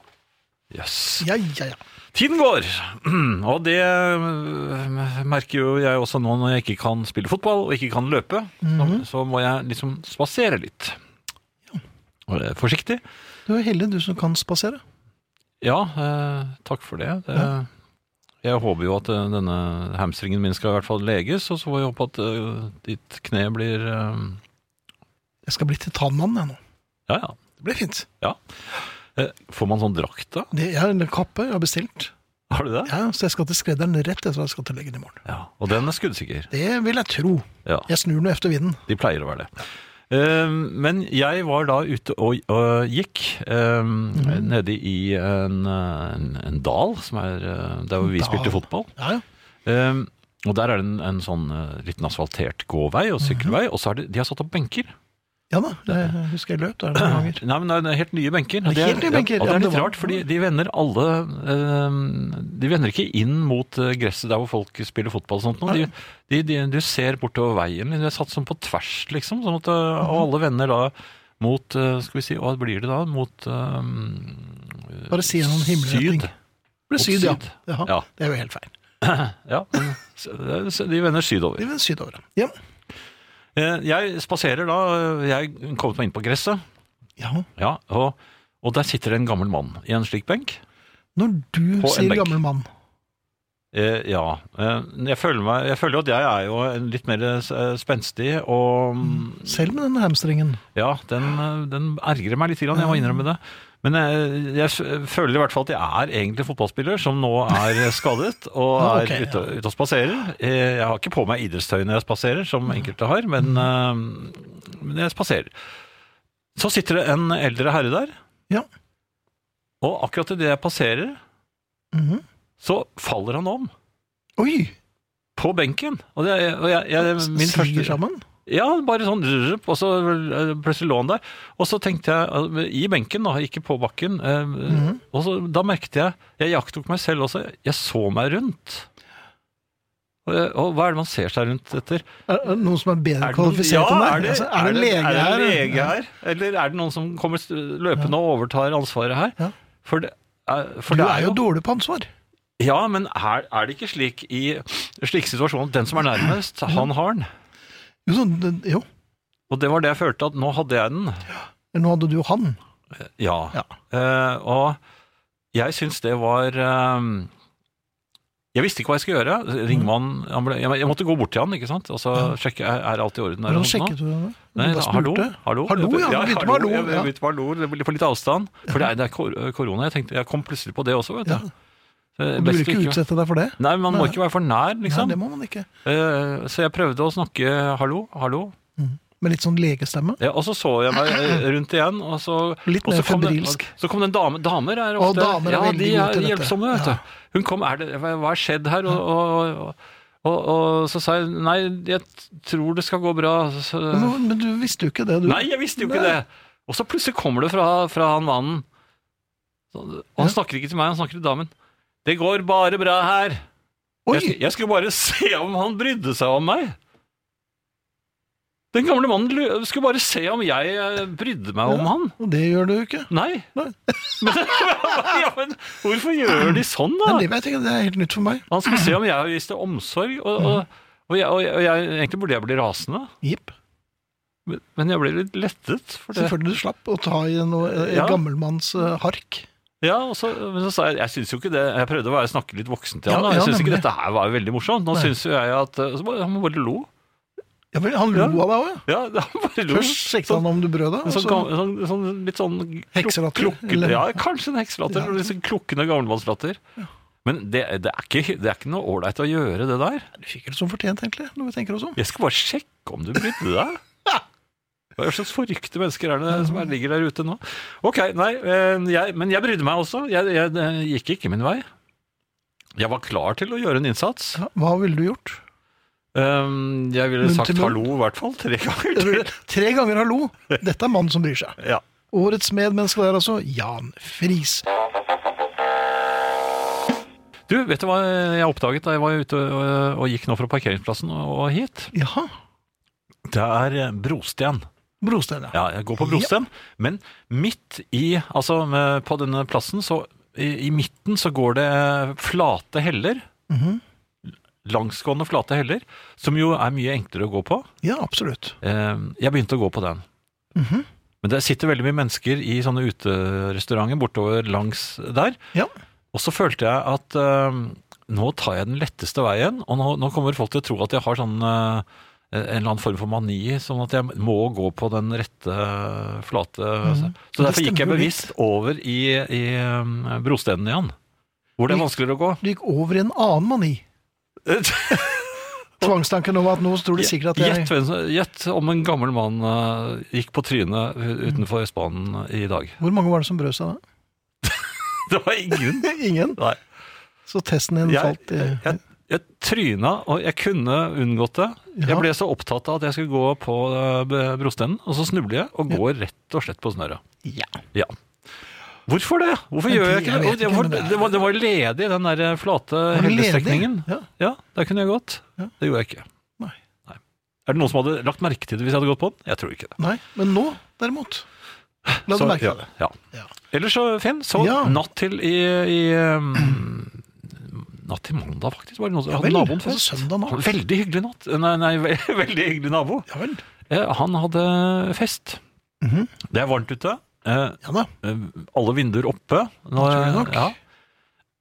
[SPEAKER 3] Jøss. Yes.
[SPEAKER 2] Ja, ja, ja.
[SPEAKER 3] Tiden går, og det øh, merker jo jeg også nå når jeg ikke kan spille fotball og ikke kan løpe.
[SPEAKER 2] Mhm.
[SPEAKER 3] så, så må jeg liksom spasere litt. Og det er Forsiktig.
[SPEAKER 2] Du er heldig, du som kan spasere.
[SPEAKER 3] Ja, eh, takk for det. det Jeg håper jo at eh, denne hamstringen min skal i hvert fall leges, og så får jeg håpe at eh, ditt kne blir eh,
[SPEAKER 2] Jeg skal bli titanmann, jeg nå.
[SPEAKER 3] Ja, ja.
[SPEAKER 2] Det blir fint.
[SPEAKER 3] Eh, Får man sånn drakt, da?
[SPEAKER 2] Det, jeg har en kappe jeg har bestilt.
[SPEAKER 3] Har du det?
[SPEAKER 2] Ja, så jeg skal til skredderen rett etter at jeg skal til legen i morgen.
[SPEAKER 3] Ja. Og den er skuddsikker.
[SPEAKER 2] Det vil jeg tro.
[SPEAKER 3] Ja.
[SPEAKER 2] Jeg snur nå efter vinden.
[SPEAKER 3] De pleier å være det. Eh, Men jeg var da ute og, og gikk eh, nede i en, eh, en, en dal, som er eh, der hvor vi
[SPEAKER 2] Dal.
[SPEAKER 3] spilte fotball.
[SPEAKER 2] Ja, ja.
[SPEAKER 3] Eh, Og der er det en, en sånn eh, liten asfaltert gåvei og sykkelvei, og så har de, de har satt opp benker.
[SPEAKER 2] Ja da, jeg husker jeg løp der noen ganger.
[SPEAKER 3] Nei, men det er helt nye benker.
[SPEAKER 2] Det er helt nye benker,
[SPEAKER 3] Ja, og det
[SPEAKER 2] ja, men
[SPEAKER 3] er
[SPEAKER 2] det
[SPEAKER 3] litt
[SPEAKER 2] var-
[SPEAKER 3] rart, fordi de vender alle eh, De vender ikke inn mot eh, gresset der hvor folk spiller fotball og sånt noe. De, de, de, du ser bortover veien. De er satt sånn på tvers, liksom. Sånn at, eh, og alle vender da mot eh, Skal vi si, hva blir det da? Mot eh,
[SPEAKER 2] Bare si noen himmelretning.
[SPEAKER 3] syd.
[SPEAKER 2] Det ble
[SPEAKER 3] Mot
[SPEAKER 2] syd, ja.
[SPEAKER 3] syd.
[SPEAKER 2] Jaha,
[SPEAKER 3] Ja.
[SPEAKER 2] Det er jo helt feil.
[SPEAKER 3] Ja, men s- de vender sydover.
[SPEAKER 2] Det er vel sydover, ja.
[SPEAKER 3] Eh, Jeg spaserer da. eh, Jeg kommet meg inn på gresset,
[SPEAKER 2] Ja.
[SPEAKER 3] ja, og, og der sitter det en gammel mann i en slik benk.
[SPEAKER 2] Når du
[SPEAKER 3] På en
[SPEAKER 2] sier
[SPEAKER 3] benk.
[SPEAKER 2] gammel mann
[SPEAKER 3] Eh, ja. Eh, jeg, føler meg, jeg føler jo at jeg er jo en litt mer eh, spenstig, og mm,
[SPEAKER 2] Selv med den hamstringen.
[SPEAKER 3] ja, den, eh, den ergrer meg litt, grann, jeg må innrømme det. Men eh, jeg f- føler i hvert fall at jeg er egentlig fotballspiller som nå er skadet og
[SPEAKER 2] Ja, Ah,
[SPEAKER 3] er
[SPEAKER 2] ok,
[SPEAKER 3] ute, ute og spaserer. Eh, Jeg har ikke på meg idrettstøy når jeg spaserer, som enkelte har, men, eh, men jeg spaserer. Så sitter det en eldre herre der,
[SPEAKER 2] Ja.
[SPEAKER 3] og akkurat idet jeg passerer,
[SPEAKER 2] Mhm.
[SPEAKER 3] så faller han om
[SPEAKER 2] Oi!
[SPEAKER 3] på benken. Og, det, og jeg, jeg, Øh, min
[SPEAKER 2] Siger
[SPEAKER 3] første
[SPEAKER 2] sammen.
[SPEAKER 3] Ja, bare sånn rup, og så eh, plutselig lå han der. Og så tenkte jeg, eh, i benken da, ikke på bakken, eh,
[SPEAKER 2] Mhm.
[SPEAKER 3] og så, da merkte jeg, jeg jaktok meg selv også, jeg så meg rundt. Og, og hva er det man ser seg rundt etter?
[SPEAKER 2] Er er det noen som er bedre
[SPEAKER 3] Er det noen-
[SPEAKER 2] kvalifisert enn deg?
[SPEAKER 3] er det,
[SPEAKER 2] Altså, er det en lege
[SPEAKER 3] er det
[SPEAKER 2] her?
[SPEAKER 3] en lege her? Eller er det noen som kommer st- løpende og overtar ansvaret her?
[SPEAKER 2] Ja.
[SPEAKER 3] For det, er- for
[SPEAKER 2] Du
[SPEAKER 3] det
[SPEAKER 2] er jo dårlig på ansvar.
[SPEAKER 3] Ja, men er, er det ikke slik i slike situasjoner at den som er nærmest, han har den?
[SPEAKER 2] Jo, sånn, det- jo.
[SPEAKER 3] Og det var det jeg følte, at nå hadde jeg den.
[SPEAKER 2] Nå hadde du jo han.
[SPEAKER 3] Ja.
[SPEAKER 2] Ja.
[SPEAKER 3] Eh, og jeg syns det var eh, Jeg visste ikke hva jeg skulle gjøre. Ringmann, ambul- jeg, jeg måtte gå bort til han, ikke sant? Og så sjekke er, er alt i orden. Er
[SPEAKER 2] Hvordan
[SPEAKER 3] det noe nå?
[SPEAKER 2] sjekket du det?
[SPEAKER 3] Nei,
[SPEAKER 2] Du bare
[SPEAKER 3] hallo,
[SPEAKER 2] spurte.
[SPEAKER 3] hallo,
[SPEAKER 2] Hallo, ja, du
[SPEAKER 3] Jeg
[SPEAKER 2] begynte med hallo,
[SPEAKER 3] Jeg
[SPEAKER 2] ja.
[SPEAKER 3] begynte med hallo, det blir på litt avstand. For det er, det er kor- korona. Jeg tenkte, jeg kom plutselig på det også, vet du.
[SPEAKER 2] Ja.
[SPEAKER 3] Eh,
[SPEAKER 2] Du vil
[SPEAKER 3] best å
[SPEAKER 2] ikke utsette deg for det?
[SPEAKER 3] Nei, man må
[SPEAKER 2] Nei.
[SPEAKER 3] ikke være for nær,
[SPEAKER 2] Nei,
[SPEAKER 3] liksom.
[SPEAKER 2] det må man ikke.
[SPEAKER 3] Eh, Så jeg prøvde å snakke hallo, hallo.
[SPEAKER 2] Med litt sånn legestemme.
[SPEAKER 3] Ja, og så så jeg meg eh, rundt igjen, og så
[SPEAKER 2] Litt
[SPEAKER 3] og så
[SPEAKER 2] mer
[SPEAKER 3] kom det-
[SPEAKER 2] febrilsk.
[SPEAKER 3] Så kom det en dame. Damer er
[SPEAKER 2] Å,
[SPEAKER 3] ofte
[SPEAKER 2] damer er
[SPEAKER 3] ja,
[SPEAKER 2] veldig
[SPEAKER 3] de
[SPEAKER 2] gode
[SPEAKER 3] er
[SPEAKER 2] til dette.
[SPEAKER 3] hjelpsomme, vet
[SPEAKER 2] Ja.
[SPEAKER 3] du. Hun kom er det, Hva hva har skjedd her? Og, og, og, og, og så sa jeg nei, jeg tror det skal gå bra. Så,
[SPEAKER 2] Men, men du visste jo ikke det, du.
[SPEAKER 3] nei, jeg visste jo ikke
[SPEAKER 2] Nei.
[SPEAKER 3] det! Og så plutselig kommer det fra, fra han mannen. Så- Og han
[SPEAKER 2] Ja.
[SPEAKER 3] snakker ikke til meg, han snakker til damen. Det går bare bra her.
[SPEAKER 2] Oi!
[SPEAKER 3] Jeg, sk- jeg skulle bare se om han brydde seg om meg. Den gamle mannen lu- skulle bare se om jeg eh, brydde meg om
[SPEAKER 2] Ja.
[SPEAKER 3] han.
[SPEAKER 2] Og det gjør du jo ikke.
[SPEAKER 3] Nei.
[SPEAKER 2] Nei.
[SPEAKER 3] Men, ja, men hvorfor gjør de sånn,
[SPEAKER 2] Men
[SPEAKER 3] da?
[SPEAKER 2] det, jeg tenker, det er helt nytt for meg.
[SPEAKER 3] Han skulle se om jeg viste omsorg, og,
[SPEAKER 2] Mm.
[SPEAKER 3] og, og, jeg, og, jeg, og jeg, egentlig burde jeg bli rasende.
[SPEAKER 2] Jipp.
[SPEAKER 3] Men- Men jeg ble litt lettet. For det.
[SPEAKER 2] Selvfølgelig du slapp å ta i noe eh,
[SPEAKER 3] Ja.
[SPEAKER 2] gammelmanns eh, hark.
[SPEAKER 3] Ja, og så, men så sa jeg Jeg synes jo ikke det Jeg prøvde å være, snakke litt voksen til
[SPEAKER 2] Ja,
[SPEAKER 3] han. da. jeg
[SPEAKER 2] ja,
[SPEAKER 3] synes ikke
[SPEAKER 2] nemlig.
[SPEAKER 3] dette her var veldig morsomt. Nå
[SPEAKER 2] Nei.
[SPEAKER 3] synes jo jeg at eh, så bare, Han bare lo.
[SPEAKER 2] Ja vel, han lo
[SPEAKER 3] Ja.
[SPEAKER 2] av deg òg, ja.
[SPEAKER 3] Ja, han bare lo.
[SPEAKER 2] Først sjekket
[SPEAKER 3] Sånn-
[SPEAKER 2] han om du brød deg. og
[SPEAKER 3] En sånn,
[SPEAKER 2] så-
[SPEAKER 3] gam- sånn, sånn, litt sånn klok-
[SPEAKER 2] Hekselatter,
[SPEAKER 3] klokkete-
[SPEAKER 2] eller-
[SPEAKER 3] ja, kanskje en hekselatter.
[SPEAKER 2] Ja.
[SPEAKER 3] Ja. Litt sånn klukkende gammelmannslatter. Men det, det, er ikke, det er ikke noe ålreit å gjøre det der.
[SPEAKER 2] Du fikk det som fortjent, egentlig, når vi tenker oss om.
[SPEAKER 3] Jeg skal bare sjekke om du brydde deg. Hva slags forrykte mennesker er det som er, ligger der ute nå? Ok, nei, eh, jeg, Men jeg brydde meg også. Jeg, jeg, eh, gikk ikke min vei. Jeg var klar til å gjøre en innsats.
[SPEAKER 2] Ja, hva ville du gjort?
[SPEAKER 3] Um, jeg ville
[SPEAKER 2] Men
[SPEAKER 3] sagt
[SPEAKER 2] til-
[SPEAKER 3] hallo i hvert fall tre ganger til.
[SPEAKER 2] Tre ganger hallo! Dette er mannen som bryr seg.
[SPEAKER 3] Ja.
[SPEAKER 2] Årets medmenneske der, altså. Jan Friis.
[SPEAKER 3] Du, vet du hva jeg oppdaget da jeg var ute og, og gikk nå fra parkeringsplassen og, og hit?
[SPEAKER 2] Jaha.
[SPEAKER 3] Det er eh, brosten.
[SPEAKER 2] Brostein, ja.
[SPEAKER 3] Ja, jeg går på brosten. Men midt i, altså eh, på denne plassen, så i, i midten så går det eh, flate heller.
[SPEAKER 2] Mhm.
[SPEAKER 3] Langsgående flate heller, som jo er mye enklere å gå på.
[SPEAKER 2] Ja, absolutt.
[SPEAKER 3] Eh, Jeg begynte å gå på den.
[SPEAKER 2] Mhm.
[SPEAKER 3] Men det sitter veldig mye mennesker i sånne uterestauranter bortover langs der.
[SPEAKER 2] Ja.
[SPEAKER 3] Og så følte jeg at eh, nå tar jeg den letteste veien, og nå, nå kommer folk til å tro at jeg har sånn eh, en eller annen form for mani, sånn at jeg må gå på den rette, flate altså. Så
[SPEAKER 2] Mhm. Det
[SPEAKER 3] derfor gikk jeg
[SPEAKER 2] stemmer jo
[SPEAKER 3] bevisst over i, i eh, brostenen igjen. Hvor det er vanskeligere å gå.
[SPEAKER 2] Du gikk over i en annen mani. Tvangstanken om at nå tror de sikkert at
[SPEAKER 3] Gjett
[SPEAKER 2] jeg
[SPEAKER 3] hvem som- Gjett om en gammel mann eh, gikk på trynet utenfor Østbanen i dag.
[SPEAKER 2] Hvor mange var det som brød seg da?
[SPEAKER 3] Det var ingen.
[SPEAKER 2] Ingen.
[SPEAKER 3] Nei.
[SPEAKER 2] Så testen din
[SPEAKER 3] Jeg,
[SPEAKER 2] falt eh, i
[SPEAKER 3] jeg, jeg, tryna, og jeg kunne unngått det.
[SPEAKER 2] Ja.
[SPEAKER 3] Jeg ble så opptatt av at jeg skulle gå på eh, brostenen, og så snubler jeg og går rett og slett på snøra.
[SPEAKER 2] Ja.
[SPEAKER 3] Ja. Hvorfor det? Hvorfor
[SPEAKER 2] Men
[SPEAKER 3] gjør
[SPEAKER 2] det-
[SPEAKER 3] jeg ikke
[SPEAKER 2] jeg
[SPEAKER 3] det?
[SPEAKER 2] vet
[SPEAKER 3] Og det?
[SPEAKER 2] ikke,
[SPEAKER 3] var-
[SPEAKER 2] men det er-
[SPEAKER 3] Det var, det var ledig, den der eh, flate
[SPEAKER 2] Var det ledig?
[SPEAKER 3] hellestrekningen.
[SPEAKER 2] Ja.
[SPEAKER 3] Ja, der kunne jeg gått.
[SPEAKER 2] Ja.
[SPEAKER 3] Det gjorde jeg ikke.
[SPEAKER 2] Nei.
[SPEAKER 3] Er det noen som hadde lagt merke til det hvis jeg hadde gått på den? Jeg tror ikke det.
[SPEAKER 2] Nei, men nå, derimot La du
[SPEAKER 3] Så-
[SPEAKER 2] merke
[SPEAKER 3] ja,
[SPEAKER 2] det.
[SPEAKER 3] Ja.
[SPEAKER 2] Ja.
[SPEAKER 3] Ellers så, Finn, så
[SPEAKER 2] Ja.
[SPEAKER 3] natt til i, i um, Natt til mandag, faktisk. Var det noen som
[SPEAKER 2] Ja
[SPEAKER 3] hadde
[SPEAKER 2] vel,
[SPEAKER 3] naboen
[SPEAKER 2] altså
[SPEAKER 3] fest?
[SPEAKER 2] søndag natt.
[SPEAKER 3] Veldig hyggelig natt. Nei, nei, ve- veldig hyggelig nabo.
[SPEAKER 2] Ja vel.
[SPEAKER 3] Eh, han hadde fest.
[SPEAKER 2] Mhm.
[SPEAKER 3] Det er varmt ute. Eh,
[SPEAKER 2] Ja da.
[SPEAKER 3] eh, alle vinduer oppe. Nå,
[SPEAKER 2] Naturlig nok.
[SPEAKER 3] ja.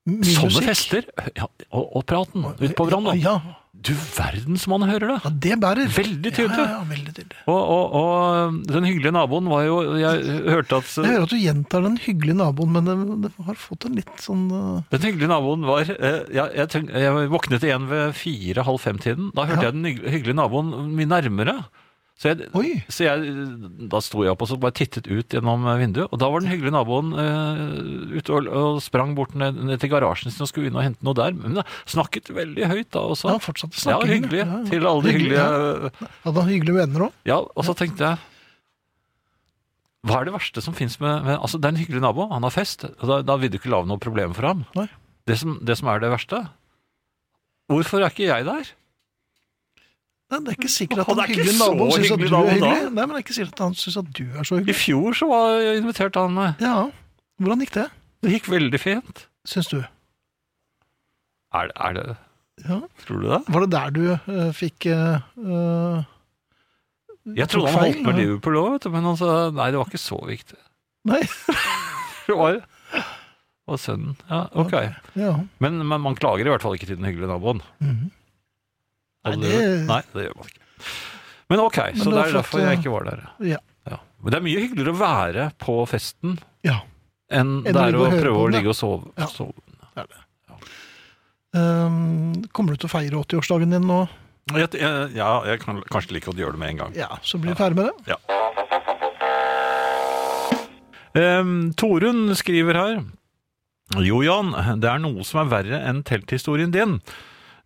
[SPEAKER 2] Mye
[SPEAKER 3] Sånne
[SPEAKER 2] musikk.
[SPEAKER 3] fester! Ja, og, og praten ute på verandaen.
[SPEAKER 2] Ja,
[SPEAKER 3] Du verden som han hører det!
[SPEAKER 2] ja, det bærer.
[SPEAKER 3] Veldig
[SPEAKER 2] Ja,
[SPEAKER 3] tydelig.
[SPEAKER 2] ja, ja, veldig tydelig.
[SPEAKER 3] Og, og, og den hyggelige naboen var jo Jeg hørte at
[SPEAKER 2] Jeg hører at du gjentar den hyggelige naboen, men det, det har fått en litt sånn eh,
[SPEAKER 3] Den hyggelige naboen var eh, jeg, jeg, tenk, jeg våknet igjen ved fire-halv fem-tiden. Da hørte
[SPEAKER 2] Ja.
[SPEAKER 3] jeg den hygg- hyggelige naboen mye nærmere. Så, jeg,
[SPEAKER 2] Oi!
[SPEAKER 3] så jeg, da sto jeg opp og så bare tittet ut gjennom eh, vinduet. Og da var den hyggelige naboen eh, ute og, og sprang bort ned, ned til garasjen sin og skulle inn og hente noe der. Men da snakket veldig høyt da også.
[SPEAKER 2] Han fortsatte
[SPEAKER 3] Ja,
[SPEAKER 2] snakkingen.
[SPEAKER 3] hyggelig. Til alle de
[SPEAKER 2] Hyggelig,
[SPEAKER 3] hyggelige
[SPEAKER 2] Hadde han hyggelige venner òg?
[SPEAKER 3] Ja, og så tenkte jeg Hva er det verste som fins med, med Altså, det er en hyggelig nabo, han har fest. Og da, da vil du ikke lage noe problem for ham.
[SPEAKER 2] Nei.
[SPEAKER 3] Det som, det som er det verste, Hvorfor er ikke jeg der?
[SPEAKER 2] Nei, det er ikke sikkert at den
[SPEAKER 3] Og det er ikke
[SPEAKER 2] hyggelige
[SPEAKER 3] så
[SPEAKER 2] naboen syns at
[SPEAKER 3] hyggelig
[SPEAKER 2] du er
[SPEAKER 3] nabo da.
[SPEAKER 2] hyggelig. Nei, men det er ikke sikkert at han syns at du er så
[SPEAKER 3] I
[SPEAKER 2] hyggelig.
[SPEAKER 3] fjor så var jeg invitert han meg.
[SPEAKER 2] Ja, Hvordan gikk det,
[SPEAKER 3] Det gikk veldig fint.
[SPEAKER 2] syns du?
[SPEAKER 3] Er, det- er det
[SPEAKER 2] Ja.
[SPEAKER 3] Tror du det?
[SPEAKER 2] Var det der du eh, fikk eh, eh, Mm.
[SPEAKER 3] Jeg trodde han holdt med Liverpool òg, vet du, men han sa nei, det var ikke så viktig.
[SPEAKER 2] Nei.
[SPEAKER 3] Det var, det var sønnen. Ja, ok.
[SPEAKER 2] Ja.
[SPEAKER 3] Men, men man klager i hvert fall ikke til den hyggelige naboen.
[SPEAKER 2] Mhm. Nei,
[SPEAKER 3] Og det-
[SPEAKER 2] det-
[SPEAKER 3] nei, det gjør man ikke. Men ok, så
[SPEAKER 2] det
[SPEAKER 3] det
[SPEAKER 2] var
[SPEAKER 3] er
[SPEAKER 2] flott,
[SPEAKER 3] derfor jeg
[SPEAKER 2] ja.
[SPEAKER 3] ikke var der.
[SPEAKER 2] Ja.
[SPEAKER 3] Men det er mye hyggeligere å være på festen
[SPEAKER 2] ja.
[SPEAKER 3] enn
[SPEAKER 2] Enn å
[SPEAKER 3] det er
[SPEAKER 2] ligge og
[SPEAKER 3] å
[SPEAKER 2] høre
[SPEAKER 3] prøve
[SPEAKER 2] på
[SPEAKER 3] å
[SPEAKER 2] den, ja.
[SPEAKER 3] ligge og sove.
[SPEAKER 2] Ja.
[SPEAKER 3] sove.
[SPEAKER 2] Ehm, kommer du til å feire 80-årsdagen din nå?
[SPEAKER 3] Jeg, jeg, ja, jeg kan kanskje like godt gjøre det med en gang.
[SPEAKER 2] Ja, så blir vi ferdig med det.
[SPEAKER 3] Em, Ehm, Torunn skriver her Jo Jan, det er noe som er verre enn telthistorien din.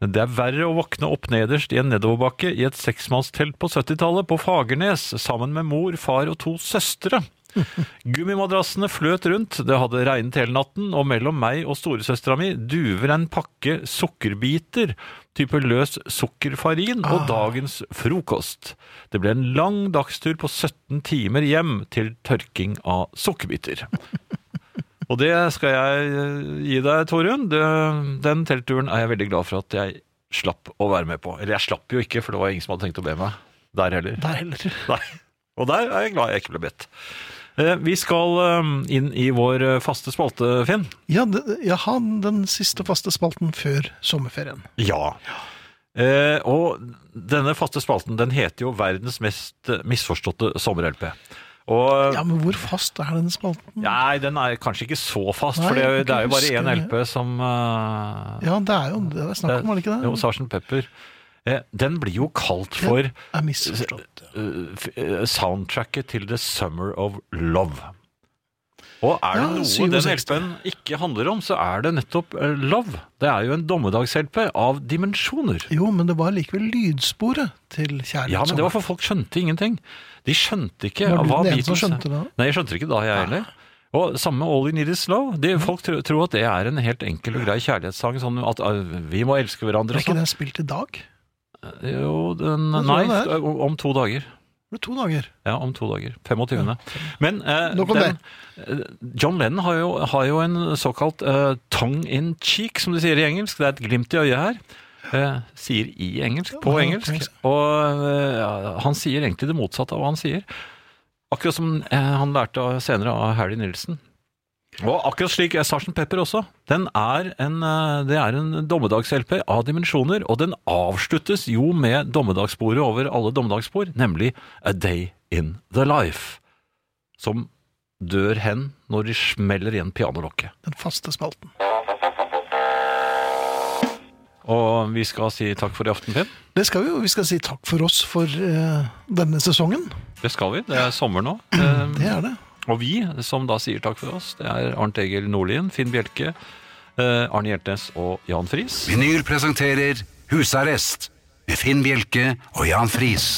[SPEAKER 3] Det er verre å våkne opp nederst i en nedoverbakke i et seksmannstelt på 70-tallet på Fagernes sammen med mor, far og to søstre. Gummimadrassene fløt rundt, det hadde regnet hele natten, og mellom meg og storesøstera mi duver en pakke sukkerbiter, type løs sukkerfarin, og dagens frokost. Det ble en lang dagstur på 17 timer hjem til tørking av sukkerbiter. Og det skal jeg eh, gi deg, Torunn. Det- Den teltturen er jeg veldig glad for at jeg slapp å være med på. Eller jeg slapp jo ikke, for det var ingen som hadde tenkt å be meg der heller.
[SPEAKER 2] Der heller.
[SPEAKER 3] Nei. Og der er jeg glad jeg ikke ble bedt. Eh, Vi skal eh, inn i vår eh, faste spalte, Finn.
[SPEAKER 2] Ja, det, jaha, den siste faste spalten før sommerferien.
[SPEAKER 3] Ja. Eh, og denne faste spalten den heter jo 'Verdens mest eh, misforståtte sommer-LP'. Og
[SPEAKER 2] Ja, men hvor fast er den spalten?
[SPEAKER 3] Nei, den er kanskje ikke så fast,
[SPEAKER 2] Nei,
[SPEAKER 3] for det, er jo-
[SPEAKER 2] jeg
[SPEAKER 3] det er jo
[SPEAKER 2] kan
[SPEAKER 3] bare
[SPEAKER 2] ikke
[SPEAKER 3] én
[SPEAKER 2] huske
[SPEAKER 3] LP som eh,
[SPEAKER 2] Ja, det er jo det det er snakk om, er det ikke
[SPEAKER 3] Jo,
[SPEAKER 2] det?
[SPEAKER 3] Sarsen Pepper. Eh, Den blir jo kalt for
[SPEAKER 2] Jeg er misforstått.
[SPEAKER 3] eh, f- eh, soundtracket til The Summer of Love. Og er det
[SPEAKER 2] Ja,
[SPEAKER 3] noe
[SPEAKER 2] 67.
[SPEAKER 3] den LP-en ikke handler om, så er det nettopp eh, love. Det er jo en dommedags-LP av dimensjoner.
[SPEAKER 2] Jo, men det var likevel lydsporet til kjærlighet.
[SPEAKER 3] Ja, men det var
[SPEAKER 2] som-
[SPEAKER 3] for folk skjønte ingenting. De skjønte ikke
[SPEAKER 2] Var du
[SPEAKER 3] hva
[SPEAKER 2] den eneste som skjønte
[SPEAKER 3] Beatles
[SPEAKER 2] det?
[SPEAKER 3] Nei, jeg skjønte det ikke da, jeg heller. Og samme med All You Need Is Love. De, folk tro- tror at det er en helt enkel og grei kjærlighetssang. Sånn at eh, vi må elske hverandre
[SPEAKER 2] Er
[SPEAKER 3] og
[SPEAKER 2] ikke
[SPEAKER 3] sånn.
[SPEAKER 2] den spilt i dag?
[SPEAKER 3] Jo, den,
[SPEAKER 2] Jeg tror
[SPEAKER 3] nei,
[SPEAKER 2] det er.
[SPEAKER 3] om to dager.
[SPEAKER 2] Det er to dager.
[SPEAKER 3] Ja, om to dager. 25. Men eh,
[SPEAKER 2] Nok om
[SPEAKER 3] den, eh, John Lennon har jo, har jo en såkalt eh, tongue in cheek, som de sier i engelsk. Det er et glimt i øyet her. Eh, sier i engelsk, på
[SPEAKER 2] Ja,
[SPEAKER 3] engelsk.
[SPEAKER 2] engelsk.
[SPEAKER 3] Og eh, ja, han sier egentlig det motsatte av hva han sier. Akkurat som eh, han lærte av- senere av Harry Nilsen. Og akkurat slik er Sarsen Pepper også. Den er en, eh, det er en dommedags-LP av dimensjoner, og den avsluttes jo med dommedagssporet over alle dommedagsspor, nemlig A Day In The Life, som dør hen når de smeller igjen pianolokket.
[SPEAKER 2] Den faste spalten.
[SPEAKER 3] Og vi skal si takk for i aften, Finn.
[SPEAKER 2] Det skal vi jo. Vi skal si takk for oss for eh, denne sesongen.
[SPEAKER 3] Det skal vi. Det er sommer nå. Eh,
[SPEAKER 2] Det er det.
[SPEAKER 3] Og vi som da sier takk for oss, det er Arnt Egil Nordlien, Finn Bjelke, eh, Arne Hjeltnes og Jan Friis.
[SPEAKER 1] Vinyl presenterer Husarrest med Finn Bjelke og Jan Friis.